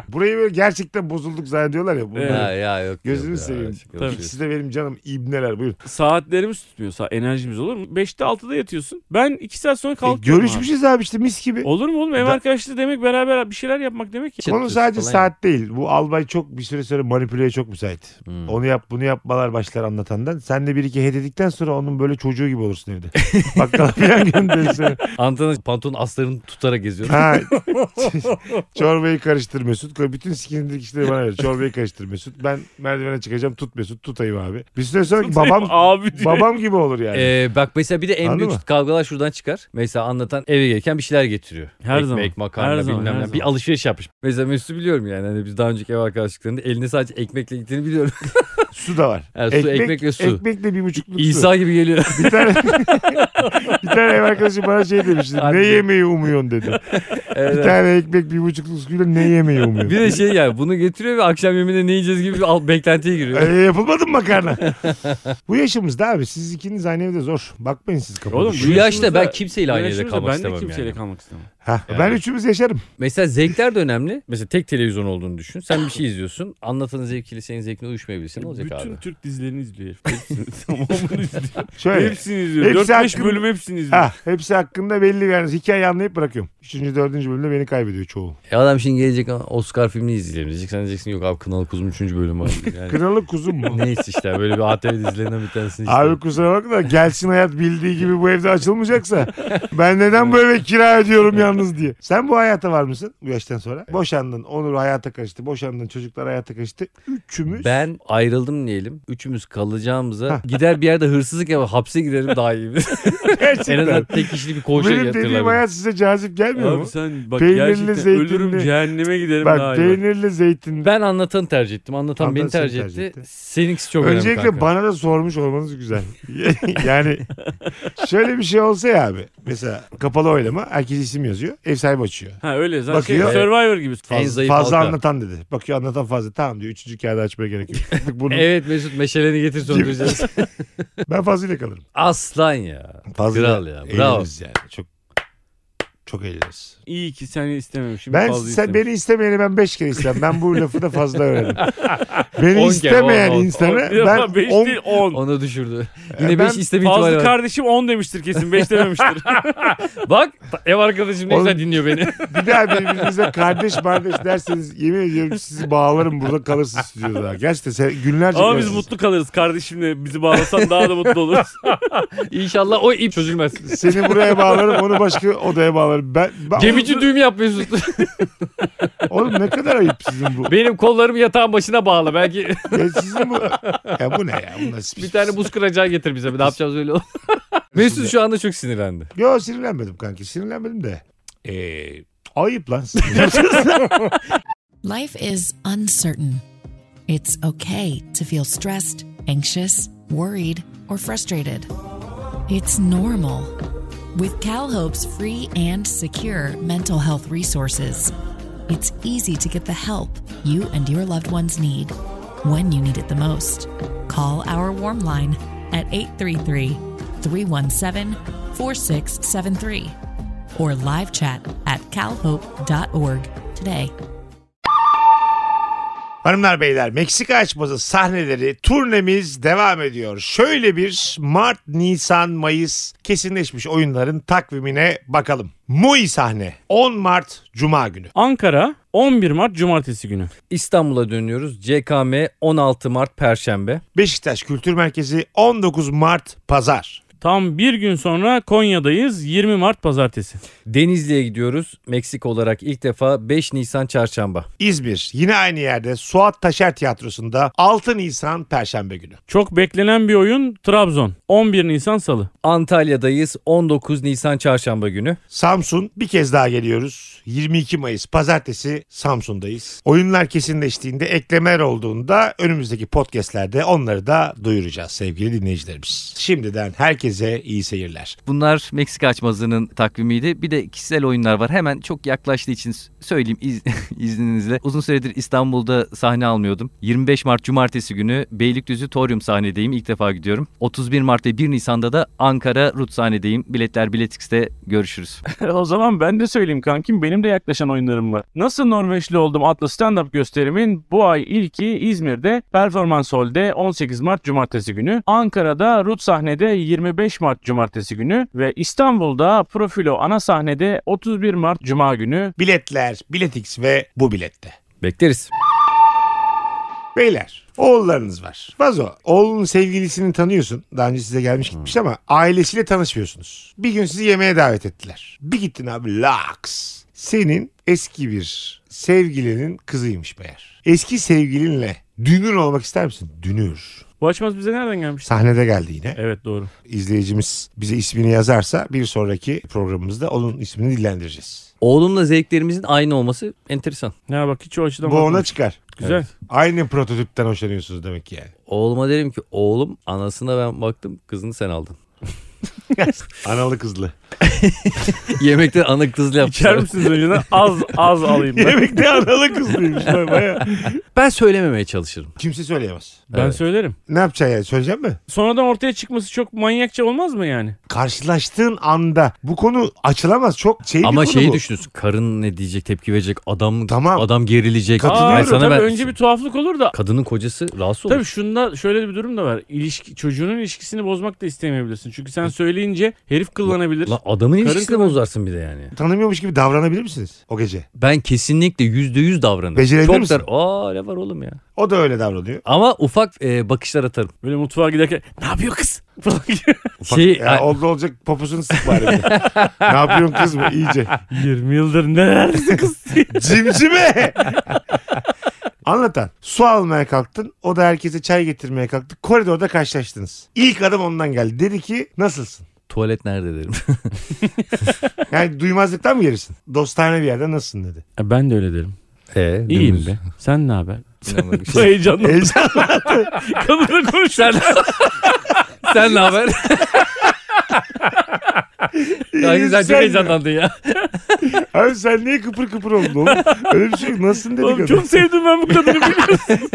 Speaker 2: Burayı böyle gerçekten bozulduk zannediyorlar ya. Bunlar.
Speaker 4: Evet.
Speaker 3: Ha, ya yok.
Speaker 2: Gözünü
Speaker 3: yok ya,
Speaker 2: seveyim.
Speaker 3: açık
Speaker 4: Tabii.
Speaker 3: konuşuyoruz.
Speaker 2: İkisi de benim canım ibneler buyurun.
Speaker 4: Saatlerimiz tutmuyor. Sa- enerjimiz olur mu? 5'te 6'da yatıyorsun. Ben 2 saat sonra
Speaker 2: E,
Speaker 4: kalkıyorum. abi.
Speaker 2: görüşmüşüz abi işte mis gibi.
Speaker 4: Olur mu oğlum? Ev
Speaker 2: Da-
Speaker 4: arkadaşlığı demek beraber bir şeyler yapmak demek ya.
Speaker 2: Konu
Speaker 3: Çıtır
Speaker 2: sadece
Speaker 3: falan
Speaker 2: saat değil. Bu albay çok bir süre sonra manipüleye çok müsait.
Speaker 3: Hmm.
Speaker 2: Onu yap bunu yapmalar başlar anlatandan. Sen de bir iki hededikten sonra onun böyle çocuğu gibi olursun evde. Bakkala falan gönderir seni.
Speaker 3: Antena pantolon aslarını tutarak geziyorum.
Speaker 2: Ha. Çorbayı karıştır Mesut. Bütün skinindeki işleri bana ver. Çorbayı karıştır Mesut. Ben merdivene çıkacağım. Tut Mesut. Tutayım abi. Bir süre sonra babam
Speaker 4: abi diyor.
Speaker 2: babam gibi olur yani.
Speaker 3: Ee, bak mesela bir de en
Speaker 2: Anladın
Speaker 3: büyük
Speaker 2: mı?
Speaker 3: kavgalar şuradan çıkar. Mesela anlatan eve gelirken bir şeyler getiriyor.
Speaker 4: Her
Speaker 3: Ekmek,
Speaker 4: zaman.
Speaker 3: makarna
Speaker 4: Her zaman,
Speaker 3: bilmem
Speaker 4: her
Speaker 3: ne. Bir
Speaker 4: zaman.
Speaker 3: alışveriş yapmış. Mesela Mesut'u biliyorum yani. Hani biz daha önceki ev arkadaşlıklarında eline sadece ekmekle gittiğini biliyorum.
Speaker 2: su da var.
Speaker 3: Evet, e, su, ekmek ve su.
Speaker 2: Ekmekle bir buçukluk su.
Speaker 3: İsa gibi geliyor.
Speaker 2: Bir tane, bir tane ev arkadaşım bana şey demişti.
Speaker 3: Abi.
Speaker 2: Ne yemeği umuyorsun dedi. Bir
Speaker 3: Evet.
Speaker 2: tane ekmek bir buçukluk suyla ne yemeği Ee, umuyorsun?
Speaker 3: Bir de şey yani bunu getiriyor ve akşam yemeğinde ne yiyeceğiz gibi bir al- beklentiye
Speaker 2: Ee,
Speaker 3: giriyor.
Speaker 2: yapılmadı mı makarna? Bu yaşımızda abi siz ikiniz aynı evde zor. Bakmayın siz
Speaker 4: Oğlum,
Speaker 2: kapatın.
Speaker 3: Şu yaşta ben
Speaker 4: yaşımızda-
Speaker 3: kimseyle aynı evde
Speaker 4: Yaşımızda
Speaker 3: kalmak
Speaker 4: ben de
Speaker 3: istemem
Speaker 4: kimseyle
Speaker 3: yani.
Speaker 4: kalmak istemem.
Speaker 2: Ha,
Speaker 3: Yani.
Speaker 2: Ben üçümüz yaşarım.
Speaker 3: Mesela zevkler de önemli. Mesela tek televizyon olduğunu düşün. Sen bir şey izliyorsun. Anlatanın zevkiyle senin zevkine uyuşmayabilirsin. Ne olacak
Speaker 4: Bütün
Speaker 3: abi?
Speaker 4: Türk dizilerini izliyor herif. Hepsini, tamamını izliyor.
Speaker 2: Şöyle.
Speaker 4: hepsini izliyor.
Speaker 2: Hepsi
Speaker 4: 4-5
Speaker 2: hakkında-
Speaker 4: bölüm hepsini izliyor.
Speaker 2: Ha, hepsi hakkında belli bir yani hikaye anlayıp bırakıyorum. Üçüncü, dördüncü bölümde beni kaybediyor çoğu.
Speaker 3: E adam şimdi gelecek "Aa, Oscar filmini izleyelim diyecek. Sen diyeceksin yok abi Kınalı Kuzum 3. bölüm var. Yani
Speaker 2: Kralı kuzum mu?
Speaker 3: Neyse işte böyle bir ATV dizilerinden bir tanesini işte.
Speaker 2: Abi kusura bakma da gelsin hayat bildiği gibi bu evde açılmayacaksa ben neden bu eve kira ediyorum yalnız diye. Sen bu hayata var mısın bu yaştan sonra? Boşandın, Onur hayata karıştı, boşandın, çocuklar hayata karıştı. Üçümüz
Speaker 3: ben ayrıldım diyelim. Üçümüz kalacağımıza gider bir yerde hırsızlık yapar hapse girerim daha iyi. en azından
Speaker 2: gerçekten.
Speaker 3: tek kişilik bir koğuşa
Speaker 2: Benim dediğim
Speaker 3: yatırılabilir.
Speaker 2: hayat size cazip gelmiyor
Speaker 4: Abi
Speaker 2: mu?
Speaker 4: sen bak
Speaker 2: Peynirli,
Speaker 4: gerçekten
Speaker 2: zeytinli-
Speaker 4: ölürüm cehenneme giderim daha
Speaker 2: Bak
Speaker 4: iyi. bak.
Speaker 2: peynirli zeytin.
Speaker 3: Ben anlatanı tercih ettim. Anlatan,
Speaker 2: Anlatan
Speaker 3: beni tercih,
Speaker 2: seni tercih
Speaker 3: etti.
Speaker 2: etti.
Speaker 3: Seninkisi çok önemli
Speaker 2: Öncelikle
Speaker 3: kanka.
Speaker 2: bana da sormuş olmanız güzel. yani şöyle bir şey olsa ya abi. Mesela kapalı oylama herkes isim yazıyor. Ev sahibi açıyor.
Speaker 4: Ha öyle zaten şey,
Speaker 2: Bakıyor.
Speaker 4: Survivor gibi.
Speaker 3: En
Speaker 2: Fazla,
Speaker 3: zayıf
Speaker 2: fazla
Speaker 3: halka.
Speaker 2: anlatan dedi. Bakıyor anlatan fazla. Tamam diyor. Üçüncü kağıdı açmaya gerek yok. Bunu,
Speaker 3: Evet Mesut meşaleni getir söndüreceğiz.
Speaker 2: Ben fazlıyla kalırım.
Speaker 3: Aslan ya.
Speaker 2: Fazla
Speaker 3: Kral ya, bravo.
Speaker 2: eğleniriz yani. Çok çok eğleniriz.
Speaker 4: İyi ki seni istememişim.
Speaker 2: Ben
Speaker 4: fazla
Speaker 2: sen,
Speaker 4: istemişim.
Speaker 2: beni istemeyeni ben 5 kere istem. Ben bu lafı da fazla öğrendim. Beni
Speaker 3: On kere,
Speaker 2: istemeyen
Speaker 3: on, on,
Speaker 2: insanı
Speaker 4: Bir defa
Speaker 2: ben
Speaker 4: beş
Speaker 2: 10
Speaker 4: değil 10.
Speaker 3: Onu düşürdü.
Speaker 2: ben
Speaker 3: Yine 5 isteme ihtimali
Speaker 4: Fazlı
Speaker 3: var.
Speaker 4: kardeşim 10 demiştir kesin 5 dememiştir.
Speaker 3: Bak ev arkadaşım ne
Speaker 2: Oğlum-
Speaker 3: güzel dinliyor beni.
Speaker 2: Bir daha birbirinize kardeş kardeş derseniz yemin ediyorum sizi bağlarım burada kalırsınız stüdyoda. Gerçekten sen, günlerce
Speaker 4: Ama biz
Speaker 2: kalırsınız.
Speaker 4: mutlu kalırız kardeşimle bizi bağlasan daha da mutlu oluruz.
Speaker 3: İnşallah o ip çözülmez.
Speaker 2: Seni buraya bağlarım onu başka odaya bağlarım. Ben, ben-
Speaker 3: Gemici düğüm yap Mesut.
Speaker 2: Oğlum ne kadar ayıp sizin bu.
Speaker 3: Benim kollarımı yatağın başına bağla. Belki
Speaker 2: Ya sizin bu. Ya bu ne ya? Bu nasıl
Speaker 3: bir tane buz kıracağı getir bize. Ne yapacağız öyle olur. Mesut şu anda çok sinirlendi.
Speaker 2: Yo sinirlenmedim kanki. Sinirlenmedim de. Ee, ayıp lan. sizin.
Speaker 1: Life is uncertain. It's okay to feel stressed, anxious, worried, or frustrated. It's normal. With CalHope's free and secure mental health resources, it's easy to get the help you and your loved ones need when you need it the most. Call our warm line at 833 317 4673 or live chat at calhope.org today.
Speaker 2: Hanımlar beyler Meksika açması sahneleri turnemiz devam ediyor. Şöyle bir Mart, Nisan, Mayıs kesinleşmiş oyunların takvimine bakalım. Muy sahne 10 Mart Cuma günü.
Speaker 4: Ankara 11 Mart Cumartesi günü.
Speaker 3: İstanbul'a dönüyoruz. CKM 16 Mart Perşembe.
Speaker 2: Beşiktaş Kültür Merkezi 19 Mart Pazar.
Speaker 4: Tam bir gün sonra Konya'dayız 20 Mart Pazartesi.
Speaker 3: Denizli'ye gidiyoruz. Meksika olarak ilk defa 5 Nisan Çarşamba.
Speaker 2: İzmir yine aynı yerde Suat Taşer Tiyatrosu'nda 6 Nisan Perşembe günü.
Speaker 4: Çok beklenen bir oyun Trabzon 11 Nisan Salı.
Speaker 3: Antalya'dayız 19 Nisan Çarşamba günü.
Speaker 2: Samsun bir kez daha geliyoruz. 22 Mayıs Pazartesi Samsun'dayız. Oyunlar kesinleştiğinde eklemeler olduğunda önümüzdeki podcastlerde onları da duyuracağız sevgili dinleyicilerimiz. Şimdiden herkese iyi seyirler.
Speaker 5: Bunlar Meksika açmazının takvimiydi. Bir de kişisel oyunlar var. Hemen çok yaklaştığı için s- söyleyeyim iz- izninizle. Uzun süredir İstanbul'da sahne almıyordum. 25 Mart Cumartesi günü Beylikdüzü Torium sahnedeyim. İlk defa gidiyorum. 31 Mart ve 1 Nisan'da da Ankara Rut sahnedeyim. Biletler Biletix'te görüşürüz.
Speaker 4: o zaman ben de söyleyeyim kankim benim de yaklaşan oyunlarım var. Nasıl Norveçli oldum adlı stand-up gösterimin bu ay ilki İzmir'de Performans Hall'de 18 Mart Cumartesi günü. Ankara'da Rut sahnede 25 Mart Cumartesi günü ve İstanbul'da Profilo ana sahnede 31 Mart Cuma günü.
Speaker 2: Biletler, Biletix ve bu bilette.
Speaker 3: Bekleriz.
Speaker 2: Beyler oğullarınız var. Vazo oğlunun sevgilisini tanıyorsun. Daha önce size gelmiş gitmiş ama ailesiyle tanışmıyorsunuz. Bir gün sizi yemeğe davet ettiler. Bir gittin abi laks. Senin eski bir sevgilinin kızıymış meğer. Eski sevgilinle dünür olmak ister misin? Dünür.
Speaker 4: Bu açmaz bize nereden gelmiş?
Speaker 2: Sahnede geldi yine.
Speaker 4: Evet doğru.
Speaker 2: İzleyicimiz bize ismini yazarsa bir sonraki programımızda onun ismini dillendireceğiz.
Speaker 3: Oğlumla zevklerimizin aynı olması enteresan.
Speaker 4: Ya bak hiç o açıdan
Speaker 2: Bu ona
Speaker 4: bakmamış.
Speaker 2: çıkar.
Speaker 4: Güzel.
Speaker 2: Aynı prototipten hoşlanıyorsunuz demek ki yani.
Speaker 3: Oğluma derim ki oğlum anasına ben baktım kızını sen aldın.
Speaker 2: Analı kızlı.
Speaker 3: Yemekte ana kızla
Speaker 4: İçer
Speaker 3: yapmışlar.
Speaker 4: misiniz önceden? Az az alayım ben.
Speaker 2: Yemekte analı kızlıymış. Baya.
Speaker 3: Ben söylememeye çalışırım.
Speaker 2: Kimse söyleyemez.
Speaker 4: Ben
Speaker 3: Evet.
Speaker 4: söylerim.
Speaker 2: Ne yapacaksın yani? Söyleyecek mi?
Speaker 4: Sonradan ortaya çıkması çok manyakça olmaz mı yani?
Speaker 2: Karşılaştığın anda bu konu açılamaz. Çok şey bir
Speaker 3: Ama
Speaker 2: konu
Speaker 3: şeyi
Speaker 2: bu.
Speaker 3: düşünüyorsun. Karın ne diyecek, tepki verecek, adam
Speaker 2: Tamam.
Speaker 3: adam gerilecek.
Speaker 2: Katılıyorum.
Speaker 3: Ay
Speaker 4: Aa,
Speaker 3: sana
Speaker 4: tabii
Speaker 3: ben-
Speaker 4: önce bir tuhaflık olur da.
Speaker 3: Kadının kocası rahatsız olur.
Speaker 4: Tabii şunda şöyle bir durum da var. İlişki, çocuğunun ilişkisini bozmak da istemeyebilirsin. Çünkü sen söyleyince herif kullanabilir.
Speaker 3: Lan adamın
Speaker 4: Karın
Speaker 3: ilişkisini
Speaker 4: kızı-
Speaker 3: bozarsın bir de yani.
Speaker 2: Tanımıyormuş gibi davranabilir misiniz o gece?
Speaker 3: Ben kesinlikle yüzde yüz davranırım.
Speaker 2: Becerebilir
Speaker 3: Çok
Speaker 2: misin?
Speaker 3: der, Aa ne var oğlum ya.
Speaker 2: O da öyle davranıyor.
Speaker 3: Ama ufak e, bakışlar atarım.
Speaker 4: Böyle mutfağa giderken ne yapıyor kız? Falan gibi.
Speaker 2: Ufak,
Speaker 3: Şey,
Speaker 2: ya,
Speaker 3: a-
Speaker 2: oldu olacak poposunu sık bari. bir de. ne yapıyorsun kız mı? İyice.
Speaker 4: 20 yıldır nelerdesin kız?
Speaker 2: Cimcime! Anlatan. Su almaya kalktın. O da herkese çay getirmeye kalktı. Koridorda karşılaştınız. İlk adım ondan geldi. Dedi ki nasılsın?
Speaker 3: Tuvalet nerede derim.
Speaker 2: Yani duymazlıktan mı gelirsin? Dostane bir yerde nasılsın dedi.
Speaker 4: ben de öyle derim.
Speaker 3: e,
Speaker 4: İyiyim be. Sen ne haber?
Speaker 3: İnanılmaz bir
Speaker 4: Bu
Speaker 3: şey.
Speaker 4: heyecanla
Speaker 2: Heyecan.
Speaker 4: kadınla konuşuyor.
Speaker 3: Sen ne haber? Ay güzel çok
Speaker 2: Sen-
Speaker 3: heyecanlandın ya.
Speaker 2: Abi sen niye kıpır kıpır oldun oğlum? Öyle bir şey yok. Nasılsın dedi
Speaker 4: Oğlum
Speaker 2: kadın.
Speaker 4: çok sevdim ben bu kadını biliyorsun.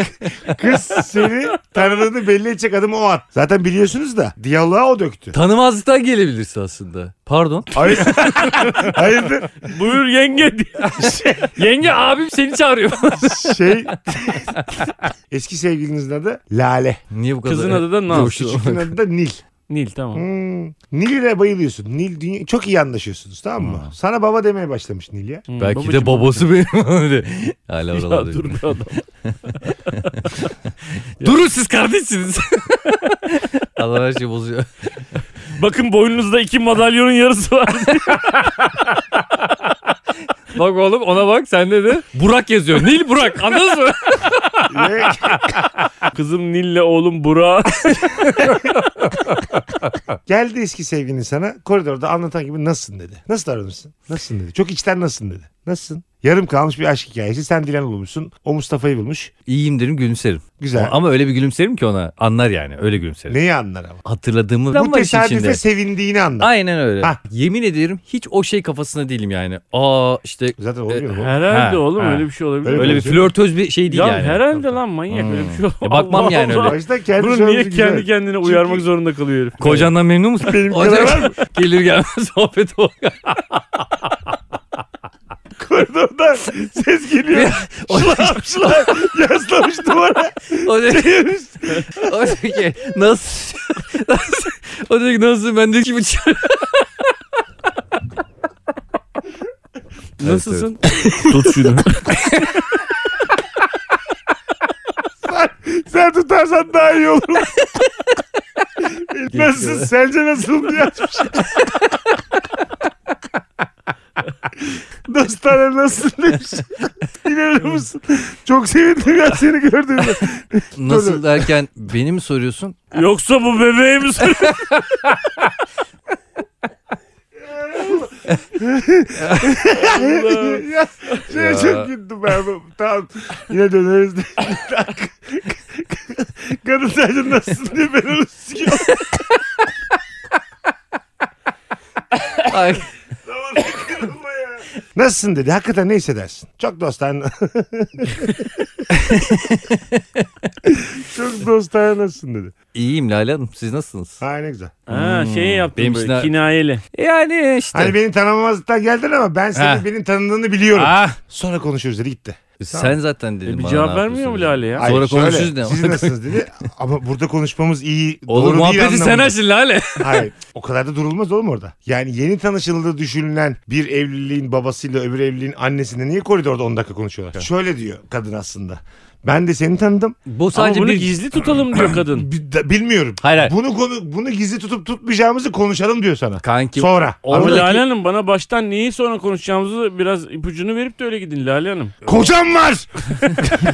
Speaker 2: Kız seni tanıdığını belli edecek adımı o at. Zaten biliyorsunuz da diyaloğa o döktü.
Speaker 3: Tanımazlıktan gelebilirsin aslında. Pardon.
Speaker 2: Hayır. Hayırdır?
Speaker 4: Buyur yenge diye.
Speaker 3: Yenge abim seni çağırıyor.
Speaker 2: Şey eski sevgilinizin adı Lale.
Speaker 3: Niye bu kadar?
Speaker 4: Kızın adı da Naz.
Speaker 2: Küçükün adı da Nil.
Speaker 4: Nil tamam.
Speaker 2: Hmm. Nil'e bayılıyorsun. Nil dünya... çok iyi anlaşıyorsunuz tamam mı? Sana baba demeye başlamış Nil ya.
Speaker 4: Hmm,
Speaker 3: Belki
Speaker 4: babacığım.
Speaker 3: de babası benim. Hala
Speaker 4: Ya
Speaker 3: oralarda.
Speaker 4: dur be adam.
Speaker 3: Durun siz kardeşsiniz. Allah her şeyi bozuyor.
Speaker 4: Bakın boynunuzda iki madalyonun yarısı var.
Speaker 3: Bak oğlum ona bak sende de. Burak yazıyor. Nil Burak anladınız mı?
Speaker 2: Ve
Speaker 4: Kızım Nil'le oğlum Burak.
Speaker 2: geldi eski sevgilin sana koridorda anlatan gibi nasılsın dedi. Nasıl davranırsın? Nasılsın dedi. Çok içten nasılsın dedi. Nasılsın? Yarım kalmış bir aşk hikayesi. Sen Dilan bulmuşsun. O Mustafa'yı bulmuş.
Speaker 3: İyiyim derim gülümserim.
Speaker 2: Güzel.
Speaker 3: Ama öyle bir gülümserim ki ona anlar yani öyle gülümserim.
Speaker 2: Neyi anlar ama?
Speaker 3: Hatırladığımı
Speaker 2: Bu
Speaker 3: var işin içinde.
Speaker 2: tesadüfe sevindiğini anlar.
Speaker 3: Aynen öyle.
Speaker 2: Hah.
Speaker 3: Yemin ediyorum hiç o şey kafasında değilim yani. Aa işte
Speaker 2: Zaten oluyor
Speaker 3: E,
Speaker 2: mu?
Speaker 4: Herhalde
Speaker 3: Ha,
Speaker 4: oğlum
Speaker 3: ha.
Speaker 4: öyle bir şey olabilir.
Speaker 2: Öyle
Speaker 4: mi?
Speaker 3: öyle bir flörtöz bir şey değil
Speaker 4: ya
Speaker 3: yani.
Speaker 4: herhalde lan manyak öyle bir şey olabilir.
Speaker 3: Ya bakmam
Speaker 4: Allah
Speaker 3: yani
Speaker 4: Allah.
Speaker 2: O
Speaker 3: öyle.
Speaker 2: yüzden kendi
Speaker 4: Bunu
Speaker 2: sorumlusu
Speaker 4: niye
Speaker 2: güzel.
Speaker 4: kendi kendine
Speaker 2: Çünkü-
Speaker 4: uyarmak zorunda kalıyor herif?
Speaker 3: Kocandan memnun musun?
Speaker 2: Benim
Speaker 3: O
Speaker 2: kadar
Speaker 3: da-
Speaker 2: var mı?
Speaker 3: Gelir gelmez sohbet o.
Speaker 2: Koridorda ses geliyor. Şılap şılap yaslamış duvara.
Speaker 3: O diyor ki, o diyor ki nasıl? nasıl- o diyor ki nasıl ben de şey- iki buçuk.
Speaker 4: Nasılsın? Tut şunu.
Speaker 2: Sen tutarsan daha iyi olur. nasılsın? Sence nasılım diye açmış. Dostlar nasılsın demiş. İnanır mısın? Çok sevindim ya seni gördüğümde.
Speaker 3: Nasıl derken beni mi soruyorsun?
Speaker 4: Yoksa bu bebeği mi soruyorsun? Allah.
Speaker 2: ya, şey çok güldüm ben. bu- Tamam yine döneriz. de. Kadın sadece nasılsın diye ben onu sikiyorum.
Speaker 3: Ay,
Speaker 2: Aman kırılma ya. Nasılsın dedi. Hakikaten ne hissedersin? Çok dostane. Çok dostane nasılsın dedi.
Speaker 3: iyiyim Lale Hanım siz nasılsınız?
Speaker 2: Ha ne güzel.
Speaker 4: Ha
Speaker 3: Hmm.
Speaker 4: şey yaptım
Speaker 3: Benim
Speaker 4: böyle
Speaker 3: için-
Speaker 4: kinayeli.
Speaker 3: Yani işte.
Speaker 2: Hani beni tanımamazlıktan geldin ama ben senin
Speaker 3: Ha.
Speaker 2: benim tanıdığını biliyorum.
Speaker 3: Ah,
Speaker 2: Sonra konuşuruz dedi gitti.
Speaker 3: sen zaten dedin
Speaker 4: E, bir
Speaker 3: bana
Speaker 4: cevap
Speaker 3: ne
Speaker 4: vermiyor mu
Speaker 3: yapıyorsun
Speaker 4: Lale ya?
Speaker 3: Ay, Sonra
Speaker 2: şöyle,
Speaker 3: konuşuruz ne?
Speaker 2: Siz nasılsınız dedi. Ama burada konuşmamız iyi.
Speaker 3: diye. Oğlum
Speaker 2: doğru değil
Speaker 3: muhabbeti sen
Speaker 2: anlamında.
Speaker 3: açın Lale.
Speaker 2: Hayır. O kadar da durulmaz oğlum orada. Yani yeni tanışıldığı düşünülen bir evliliğin babasıyla öbür evliliğin annesine niye koridorda 10 dakika konuşuyorlar? Şöyle diyor kadın aslında. Ben de seni tanıdım.
Speaker 3: Bu
Speaker 4: Ama
Speaker 3: sadece
Speaker 4: bunu
Speaker 3: bir...
Speaker 4: gizli tutalım diyor kadın.
Speaker 2: Bi- da- Bilmiyorum.
Speaker 3: Hayır hayır.
Speaker 2: Bunu konu bunu gizli tutup tutmayacağımızı konuşalım diyor sana.
Speaker 3: Kanki
Speaker 2: Sonra.
Speaker 4: Ama
Speaker 3: Oradaki-
Speaker 4: Lale Hanım bana baştan neyi sonra konuşacağımızı biraz ipucunu verip de öyle gidin Lale Hanım.
Speaker 2: Kocam var.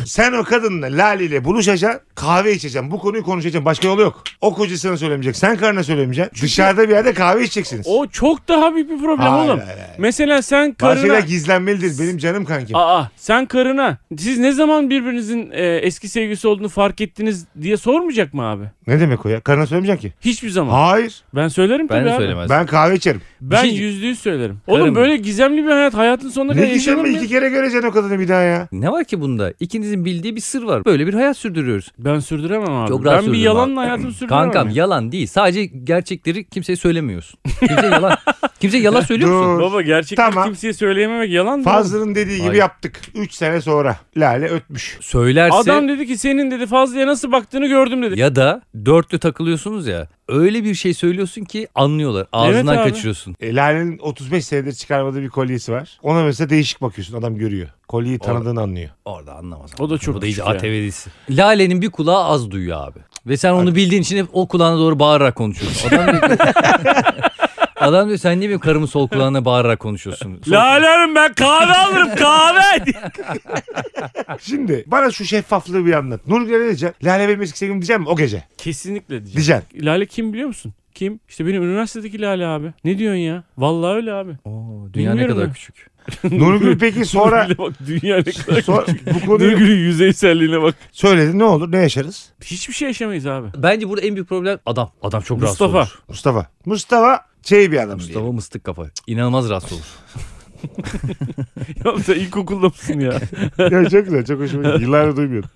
Speaker 2: Sen o kadınla Lale ile buluşacaksın. Kahve içeceksin. Bu konuyu konuşacaksın. Başka yolu yok. O kocasına söylemeyecek. Sen karına söylemeyeceksin. Dışarıda bir yerde kahve içeceksiniz.
Speaker 4: O çok daha büyük bir problem
Speaker 2: Hayır,
Speaker 4: oğlum.
Speaker 2: hayır, hayır.
Speaker 4: Mesela sen
Speaker 2: Bazı şeyler
Speaker 4: karına...
Speaker 2: gizlenmelidir. Benim canım kankim.
Speaker 4: Aa sen karına siz ne zaman birbirinizin e, eski sevgilisi olduğunu fark ettiniz diye sormayacak mı abi?
Speaker 2: Ne demek o ya? Karına söylemeyeceksin ki.
Speaker 4: Hiçbir zaman.
Speaker 2: Hayır.
Speaker 4: Ben söylerim
Speaker 3: ben
Speaker 4: tabii
Speaker 3: de
Speaker 4: abi.
Speaker 3: söylemezdim.
Speaker 2: Ben kahve içerim.
Speaker 4: Ben
Speaker 3: Bir şey-
Speaker 4: yüzde yüz söylerim.
Speaker 3: Karım-
Speaker 4: Oğlum böyle gizemli bir hayat hayatın sonuna
Speaker 2: Ne
Speaker 4: kadar yaşanır
Speaker 2: gizlenme
Speaker 4: mı?
Speaker 2: iki kere göreceksin o kadını bir daha ya.
Speaker 3: Ne var ki bunda? İkinizin bildiği bir sır var. Böyle bir hayat sürdürüyoruz.
Speaker 4: Ben sürdüremem abi.
Speaker 3: Çok rahat
Speaker 4: ben bir
Speaker 3: sürdürürüm
Speaker 4: yalanla
Speaker 3: abi.
Speaker 4: hayatımı sürdüremem.
Speaker 3: Kankam
Speaker 4: ya.
Speaker 3: yalan değil. Sadece gerçekleri kimseye söylemiyorsun. Kimseye yalan. Kimseye yalan söylüyor musun?
Speaker 2: Dur.
Speaker 4: Baba gerçekleri
Speaker 2: Tamam.
Speaker 4: kimseye söyleyememek yalan mı?
Speaker 2: Fazlının dediği gibi
Speaker 3: Hayır.
Speaker 2: yaptık. 3 sene sonra Lale ötmüş.
Speaker 3: Söylerse
Speaker 4: Adam dedi ki senin dedi Fazlı'ya nasıl baktığını gördüm dedi.
Speaker 3: ya da dörtlü takılıyorsunuz ya. Öyle bir şey söylüyorsun ki anlıyorlar. Ağzından
Speaker 4: abi.
Speaker 3: kaçırıyorsun.
Speaker 2: E, Lale'nin 35 senedir çıkarmadığı bir kolyesi var. Ona mesela değişik bakıyorsun. Adam görüyor. Kolyeyi tanıdığını anlıyor.
Speaker 3: Orada anlamaz.
Speaker 4: O da çok
Speaker 3: Bu da iyice
Speaker 4: küçük ya.
Speaker 3: ATV dizisi. Lale'nin bir kulağı az duyuyor abi. Ve sen onu bildiğin için hep o kulağına doğru bağırarak konuşuyorsun. Adam diyor ki- Adam diyor sen niye benim karımın sol kulağına bağırarak konuşuyorsun? Sol-
Speaker 4: Lale Hanım ben kahve alırım kahve.
Speaker 2: Şimdi bana şu şeffaflığı bir anlat. Nurgül'e ne diyeceksin? Lale benim eski sevgilim diyeceğim mi? O gece.
Speaker 4: Kesinlikle diyeceğim.
Speaker 2: Diyeceksin.
Speaker 4: Lale kim biliyor musun? Kim? İşte benim üniversitedeki Lale abi. Ne diyorsun ya? Vallahi öyle abi.
Speaker 3: Oo, dünya ne
Speaker 4: Bilmiyorum
Speaker 3: kadar
Speaker 4: ya.
Speaker 3: küçük.
Speaker 2: Nurgül peki sonra...
Speaker 4: Bak dünya ne kadar
Speaker 2: sonra bu konuyu
Speaker 4: Nurgül'ün yüzeyselliğine bak.
Speaker 2: söyledi. Ne olur? Ne yaşarız?
Speaker 4: Hiçbir şey yaşamayız abi.
Speaker 3: Bence burada en büyük problem adam. Adam çok
Speaker 4: Mustafa.
Speaker 3: rahatsız olur.
Speaker 2: Mustafa. Mustafa şey bir adam
Speaker 3: Mustafa
Speaker 2: diyelim.
Speaker 3: mıstık kafa. İnanılmaz rahatsız olur.
Speaker 4: ya sen ilkokulda mısın ya?
Speaker 2: Ya çok güzel. Çok hoşuma gitti. Yıllardır duymuyordum.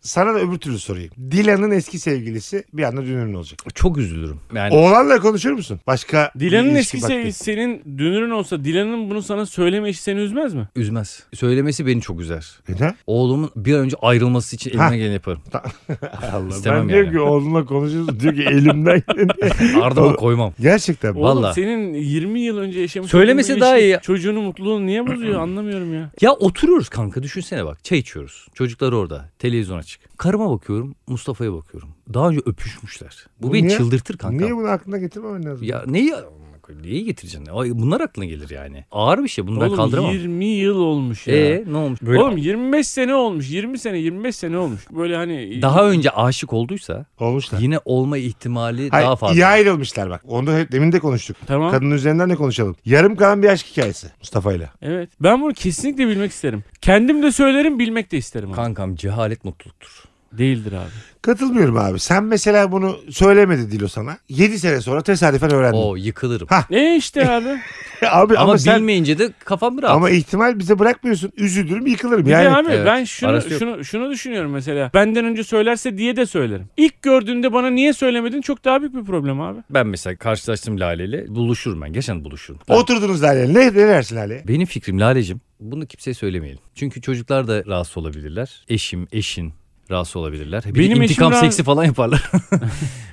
Speaker 2: Sana da öbür türlü sorayım. Dilan'ın eski sevgilisi bir anda dünürün olacak.
Speaker 3: Çok üzülürüm. Yani
Speaker 2: Oğlanla konuşur musun? Başka bir
Speaker 4: Dilan'ın
Speaker 2: ilişki
Speaker 4: eski
Speaker 2: vakti.
Speaker 4: sevgilisi senin dünürün olsa Dilan'ın bunu sana söyleme işi seni üzmez mi?
Speaker 3: üzmez. Söylemesi beni çok üzer.
Speaker 2: Neden?
Speaker 3: Oğlumun bir an önce ayrılması için
Speaker 2: Ha.
Speaker 3: elimden geleni yaparım.
Speaker 2: Allah.
Speaker 3: İstemem
Speaker 2: ben diyorum
Speaker 3: yani.
Speaker 2: ki oğlunla konuşuyorsun. Diyor ki elimden geleni.
Speaker 3: Ardıma koymam.
Speaker 2: Gerçekten mi?
Speaker 4: Oğlum
Speaker 3: Vallahi.
Speaker 4: senin 20 yıl önce yaşamış
Speaker 3: Söylemesi
Speaker 4: olduğun bir
Speaker 3: daha
Speaker 4: ilişki
Speaker 3: iyi.
Speaker 4: Çocuğunun mutluluğunu niye bozuyor anlamıyorum ya.
Speaker 3: Ya oturuyoruz kanka düşünsene bak. Çay içiyoruz. Çocuklar orada. Televizyon açık. Karıma bakıyorum. Mustafa'ya bakıyorum. Daha önce öpüşmüşler. Bu beni
Speaker 2: Niye?
Speaker 3: çıldırtır kanka.
Speaker 2: Niye bunu aklına getirmemen lazım?
Speaker 3: Ya neyi koyayım. Neyi getireceksin? Ay, Bunlar aklına gelir yani. Ağır bir şey. Bunu ben
Speaker 4: Oğlum
Speaker 3: kaldıramam.
Speaker 4: 20 yıl olmuş ya.
Speaker 3: Ee, ne olmuş? Böyle
Speaker 4: Oğlum 25 sene olmuş. 20 sene 25 sene olmuş. Böyle hani
Speaker 3: daha önce aşık olduysa
Speaker 2: Olmuşlar.
Speaker 3: yine olma ihtimali
Speaker 2: Hayır,
Speaker 3: daha fazla.
Speaker 2: iyi ayrılmışlar bak. Onu da demin de konuştuk.
Speaker 4: Tamam.
Speaker 2: Kadının üzerinden de konuşalım. Yarım kalan bir aşk hikayesi Mustafa'yla.
Speaker 4: Evet. Ben bunu kesinlikle bilmek isterim. Kendim de söylerim, bilmek de isterim. Abi.
Speaker 3: Kankam cehalet mutluluktur.
Speaker 4: Değildir abi.
Speaker 2: Katılmıyorum abi. Sen mesela bunu söylemedi Dilo sana. 7 sene sonra tesadüfen öğrendin.
Speaker 3: O yıkılırım.
Speaker 2: Ha,
Speaker 4: E işte abi.
Speaker 2: abi ama,
Speaker 3: ama,
Speaker 2: sen
Speaker 3: bilmeyince de kafam rahat.
Speaker 2: ama ihtimal bize bırakmıyorsun. Üzülürüm, yıkılırım.
Speaker 4: Bir de
Speaker 2: Yani
Speaker 4: abi
Speaker 3: evet,
Speaker 4: ben şunu
Speaker 3: arası yok.
Speaker 4: şunu şunu düşünüyorum mesela. Benden önce söylerse diye de söylerim. İlk gördüğünde bana niye söylemedin çok daha büyük bir problem abi.
Speaker 3: Ben mesela karşılaştım Lale'yle. Buluşurum ben. Geçen buluşurum.
Speaker 2: oturdunuz Lale. Ne, ne dersin Lale?
Speaker 3: Benim fikrim Lale'cim bunu kimseye söylemeyelim. Çünkü çocuklar da rahatsız olabilirler. Eşim, eşin rahatsız olabilirler. Bir
Speaker 4: Benim
Speaker 3: Benim intikam
Speaker 4: eşim
Speaker 3: seksi falan yaparlar.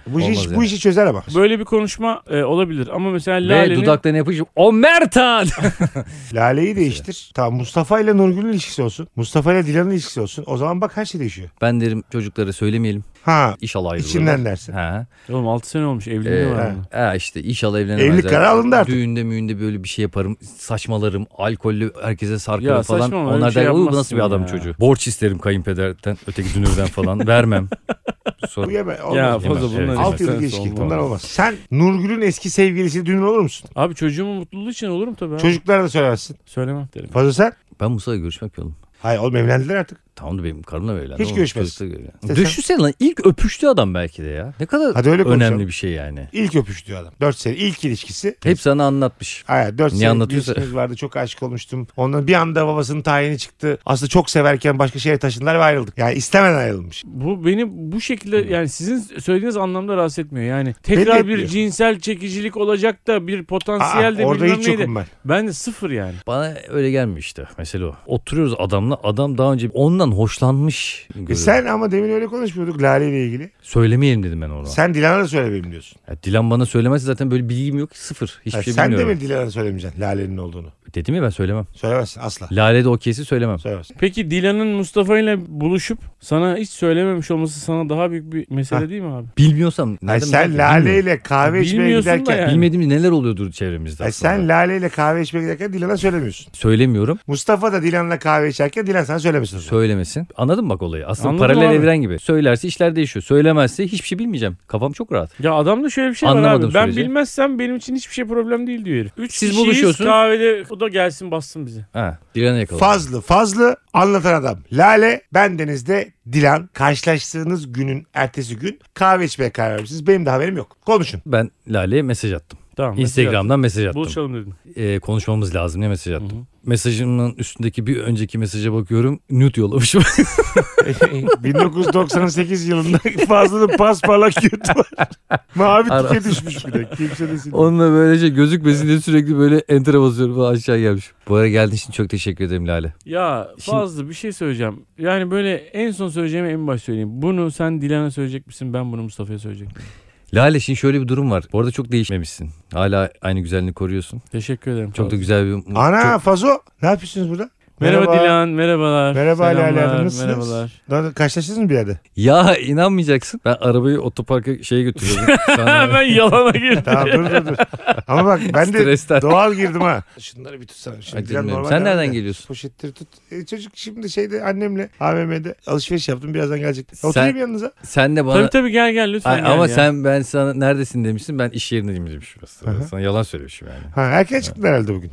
Speaker 2: Bu, işi,
Speaker 3: Olmaz
Speaker 2: bu
Speaker 3: yani.
Speaker 2: işi çözer ama.
Speaker 4: Böyle bir konuşma e, olabilir ama mesela
Speaker 3: Ve
Speaker 4: Lale'nin
Speaker 3: dudaklarına yapışıp o Mertan!
Speaker 2: Lale'yi değiştir. Tamam Mustafa ile Nurgül'ün ilişkisi olsun. Mustafa ile Dilan'ın ilişkisi olsun. O zaman bak her şey değişiyor.
Speaker 3: ben derim çocuklara söylemeyelim.
Speaker 2: Ha
Speaker 3: İnşallah ayrılırlar.
Speaker 2: içinden dersin.
Speaker 3: Ha.
Speaker 4: Oğlum 6 sene olmuş evliliği
Speaker 3: Ee,
Speaker 4: var.
Speaker 2: he.
Speaker 4: bunun.
Speaker 3: ha işte inşallah evlenemezler.
Speaker 2: Evlilik kararı alındı artık.
Speaker 3: Düğünde müğünde böyle bir şey yaparım. Saçmalarım. Alkollü herkese sarkarım
Speaker 4: Ya
Speaker 3: falan.
Speaker 4: saçmalama, öyle bir
Speaker 3: Onlar
Speaker 4: şey
Speaker 3: der "Uy, bu
Speaker 4: yapmazsın
Speaker 3: nasıl bir adam
Speaker 4: ya."
Speaker 3: çocuğu. Borç isterim kayınpederden. Öteki dünürden falan. Vermem.
Speaker 2: Bu
Speaker 3: Sonra
Speaker 2: yeme. Olmaz.
Speaker 4: Ya
Speaker 2: Ya,
Speaker 4: fazla
Speaker 3: Evet,
Speaker 4: bunlar.
Speaker 3: evet.
Speaker 2: Alt yıllık
Speaker 4: Sen-
Speaker 2: ilişki.
Speaker 4: olmaz.
Speaker 2: Bunlar olmaz. Sen Nurgül'ün eski sevgilisi düğün olur musun?
Speaker 4: Abi çocuğumun mutluluğu için olurum tabii abi.
Speaker 2: Çocuklara da söylersin.
Speaker 4: Söylemem derim.
Speaker 2: Fazla sen?
Speaker 3: ben Musa'yla görüşmek yolum.
Speaker 2: Hayır oğlum evlendiler artık.
Speaker 3: Tamam da benim karımla evlendi.
Speaker 2: Hiç
Speaker 3: oğlum.
Speaker 2: görüşmez.
Speaker 3: Çocukla görüyor.
Speaker 2: İşte sen-
Speaker 3: Düşünsene lan ilk öpüştü adam belki de ya. Ne kadar
Speaker 2: Hadi öyle konuşalım.
Speaker 3: önemli bir şey yani.
Speaker 2: İlk öpüştüğü adam. 4 sene ilk ilişkisi.
Speaker 3: Hep sana anlatmış.
Speaker 2: Hayır 4
Speaker 3: Ne
Speaker 2: sene
Speaker 3: anlatıyorsa.
Speaker 2: ilişkimiz vardı çok aşık olmuştum. Ondan bir anda babasının tayini çıktı. Aslında çok severken başka şehre taşındılar ve ayrıldık. Yani istemeden ayrılmış.
Speaker 4: Bu beni bu şekilde yani sizin söylediğiniz anlamda rahatsız etmiyor. Yani tekrar bir
Speaker 2: etmiyor.
Speaker 4: cinsel çekicilik olacak da bir
Speaker 2: Aa,
Speaker 4: potansiyel de
Speaker 2: orada
Speaker 4: bilmem
Speaker 2: hiç
Speaker 4: neydi.
Speaker 2: yokum ben. E
Speaker 4: Ben de sıfır yani.
Speaker 3: Bana öyle gelmiyor işte. Mesela o. Oturuyoruz adamla. Adam daha önce ondan hoşlanmış.
Speaker 2: E
Speaker 3: görüyorum.
Speaker 2: sen ama demin öyle konuşmuyorduk Lale ile ilgili.
Speaker 3: Söylemeyelim dedim ben ona.
Speaker 2: Sen Dilan'a da söyle benim diyorsun.
Speaker 3: Ya Dilan bana söylemezse zaten böyle bilgim yok. Sıfır. Hiçbir
Speaker 2: Ha,
Speaker 3: şey
Speaker 2: sen de
Speaker 3: bilmiyorum.
Speaker 2: mi Dilan'a söylemeyeceksin Lale'nin olduğunu?
Speaker 3: Dedim ya ben söylemem.
Speaker 2: Söylemezsin asla.
Speaker 3: Lale de okeysi söylemem.
Speaker 2: Söylemezsin.
Speaker 4: Peki Dilan'ın Mustafa ile buluşup sana hiç söylememiş olması sana daha büyük bir mesele
Speaker 2: Ha.
Speaker 4: değil mi abi?
Speaker 3: Bilmiyorsam.
Speaker 2: Hayır,
Speaker 3: nereden
Speaker 2: sen
Speaker 3: bileyim?
Speaker 2: Lale
Speaker 3: Bilmiyorum.
Speaker 2: ile kahve
Speaker 4: Bilmiyorsun
Speaker 2: içmeye
Speaker 4: da
Speaker 2: giderken...
Speaker 4: yani.
Speaker 3: Bilmediğimiz neler oluyordur çevremizde
Speaker 2: Hayır,
Speaker 3: aslında.
Speaker 2: sen Lale ile kahve içmeye giderken Dilan'a söylemiyorsun.
Speaker 3: Söylemiyorum.
Speaker 2: Mustafa da Dilan'la kahve içerken Dilan sana söylemesin. o zaman.
Speaker 3: Söylemesin. Anladın mı bak olayı? Aslında
Speaker 4: Anladım
Speaker 3: paralel
Speaker 4: abi.
Speaker 3: evren gibi. Söylerse işler değişiyor. Söylemezse hiçbir şey bilmeyeceğim. Kafam çok rahat.
Speaker 4: Ya adamda şöyle bir şey var
Speaker 3: Anlamadım
Speaker 4: abi. Ben
Speaker 3: süreci.
Speaker 4: bilmezsem benim için hiçbir şey problem değil diyor herif. Üç
Speaker 3: Siz
Speaker 4: kişiyiz,
Speaker 3: buluşuyorsunuz.
Speaker 4: kahvede o da gelsin bassın bizi.
Speaker 3: Ha, Dilan'ı yakaladım.
Speaker 2: Fazlı fazlı anlatan adam. Lale ben denizde Dilan karşılaştığınız günün ertesi gün kahve içmeye karar vermişsiniz. Benim de haberim yok. Konuşun.
Speaker 3: Ben Lale'ye mesaj attım.
Speaker 4: Tamam. mesaj at.
Speaker 3: Instagram'dan mesaj attım.
Speaker 4: Buluşalım dedim.
Speaker 3: Ee, konuşmamız lazım diye mesaj attım. Mesajımın üstündeki bir önceki mesaja bakıyorum. Nude yollamışım.
Speaker 4: E,
Speaker 2: 1998 yılında Fazlı'nın pasparlak götü var. Mavi tike
Speaker 3: Arası.
Speaker 2: düşmüş bir de. Kimse de silmiyor.
Speaker 3: Onunla böylece gözükmesin diye sürekli böyle enter'a basıyorum falan aşağı gelmiş. Bu ara geldiğin için çok teşekkür ederim Lale.
Speaker 4: Ya
Speaker 3: Şimdi-
Speaker 4: fazla bir şey söyleyeceğim. Yani böyle en son söyleyeceğimi en baş söyleyeyim. Bunu sen Dilan'a söyleyecek misin? Ben bunu Mustafa'ya söyleyecek miyim?
Speaker 3: Lale şimdi şöyle bir durum var. Bu arada çok değişmemişsin. Hala aynı güzelliğini koruyorsun.
Speaker 4: Teşekkür ederim.
Speaker 3: Çok da
Speaker 4: Fazlı.
Speaker 3: güzel bir... mut-
Speaker 2: Ana
Speaker 3: çok-
Speaker 2: Fazo ne yapıyorsunuz burada?
Speaker 4: Merhaba, Dilan, merhabalar.
Speaker 2: Merhaba Ali
Speaker 4: selamlar,
Speaker 2: Ali, nasılsınız?
Speaker 4: Merhabalar.
Speaker 2: Lan Karşılaştınız mı bir yerde?
Speaker 3: Ya inanmayacaksın. Ben arabayı otoparka şeye götürüyordum. Sen-
Speaker 4: Hemen yalana girdim.
Speaker 2: Tamam dur dur dur. Ama bak ben de
Speaker 3: Stresten.
Speaker 2: doğal girdim ha. Şunları bir tutsana. Şimdi
Speaker 3: Ay,
Speaker 2: Dilan
Speaker 3: bilmiyorum.
Speaker 2: normal devam
Speaker 3: Sen nereden
Speaker 2: ediyor.
Speaker 3: geliyorsun?
Speaker 2: Poşetleri tut. E, çocuk şimdi şeyde annemle AVM'de alışveriş yaptım. Birazdan gelecek. Oturayım yanınıza.
Speaker 3: Sen de bana...
Speaker 4: Tabii tabii gel gel lütfen
Speaker 3: Ay,
Speaker 4: gel
Speaker 3: ama
Speaker 4: ya.
Speaker 3: sen ben sana neredesin demişsin ben iş yerindeyim demişim aslında. Sana yalan söylemişim yani.
Speaker 2: Ha, erken çıktın herhalde bugün.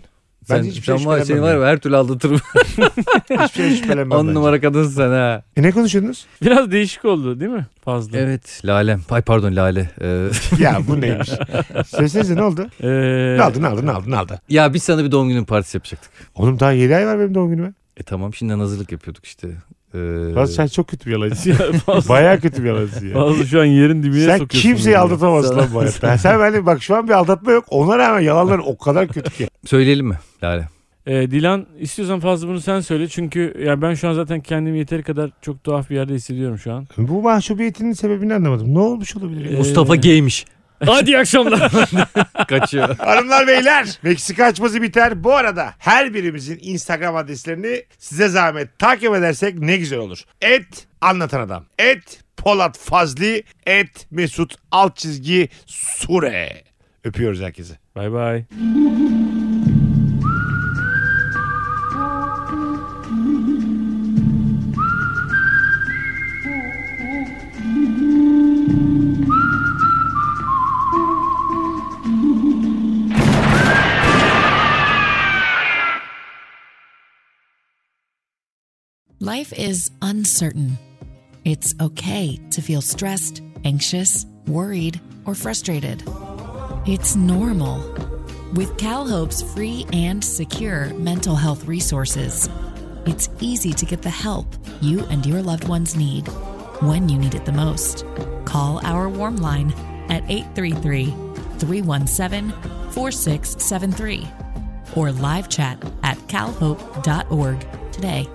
Speaker 2: Ben
Speaker 3: sen,
Speaker 2: hiçbir şey
Speaker 3: sen var, seni
Speaker 2: şüphelenmem
Speaker 3: var
Speaker 2: ya.
Speaker 3: ya, her türlü aldatırım.
Speaker 2: Hiçbir şey şüphelenmem.
Speaker 3: On
Speaker 2: bence.
Speaker 3: numara kadınsın sen ha.
Speaker 2: E, ne konuşuyordunuz?
Speaker 4: Biraz değişik oldu değil mi? Fazla.
Speaker 3: Evet Lale. Ay pardon Lale. Ee,
Speaker 2: ya bu neymiş? Söylesenize ne oldu?
Speaker 4: Ee,
Speaker 2: Ne aldı ne aldı ne aldı ne aldı?
Speaker 3: ya biz sana bir doğum günü partisi yapacaktık.
Speaker 2: Oğlum daha 7 ay var benim doğum günüme.
Speaker 3: E tamam şimdiden hazırlık yapıyorduk işte. Ee,
Speaker 2: Lan sen çok kötü bir yalancısın.
Speaker 4: fazla,
Speaker 2: Bayağı kötü bir yalancısın ya.
Speaker 4: fazla şu an yerin dibine
Speaker 2: Sen
Speaker 4: sokuyorsun.
Speaker 2: kimseyi
Speaker 4: beni ya.
Speaker 2: aldatamazsın lan bu hayatta. Sen beni bak şu an bir aldatma yok. Ona rağmen yalanların o kadar kötü ki.
Speaker 3: Söyleyelim mi Lale?
Speaker 4: Ee, Dilan istiyorsan fazla bunu sen söyle. Çünkü ya ben şu an zaten kendimi yeteri kadar çok tuhaf bir yerde hissediyorum şu an.
Speaker 2: Bu mahcubiyetinin sebebini anlamadım. Ne olmuş olabilir? ya?
Speaker 4: Ee,
Speaker 3: Mustafa gaymiş. Hadi iyi akşamlar. Kaçıyor.
Speaker 2: Hanımlar beyler Meksika açması biter. Bu arada her birimizin Instagram adreslerini size zahmet takip edersek ne güzel olur. Et anlatan adam. Et Polat Fazli. Et Mesut alt çizgi Sure. Öpüyoruz herkese.
Speaker 4: Bay bay.
Speaker 1: Life is uncertain. It's okay to feel stressed, anxious, worried, or frustrated. It's normal. With CalHope's free and secure mental health resources, it's easy to get the help you and your loved ones need when you need it the most. Call our warm line at 833 317 4673 or live chat at calhope.org today.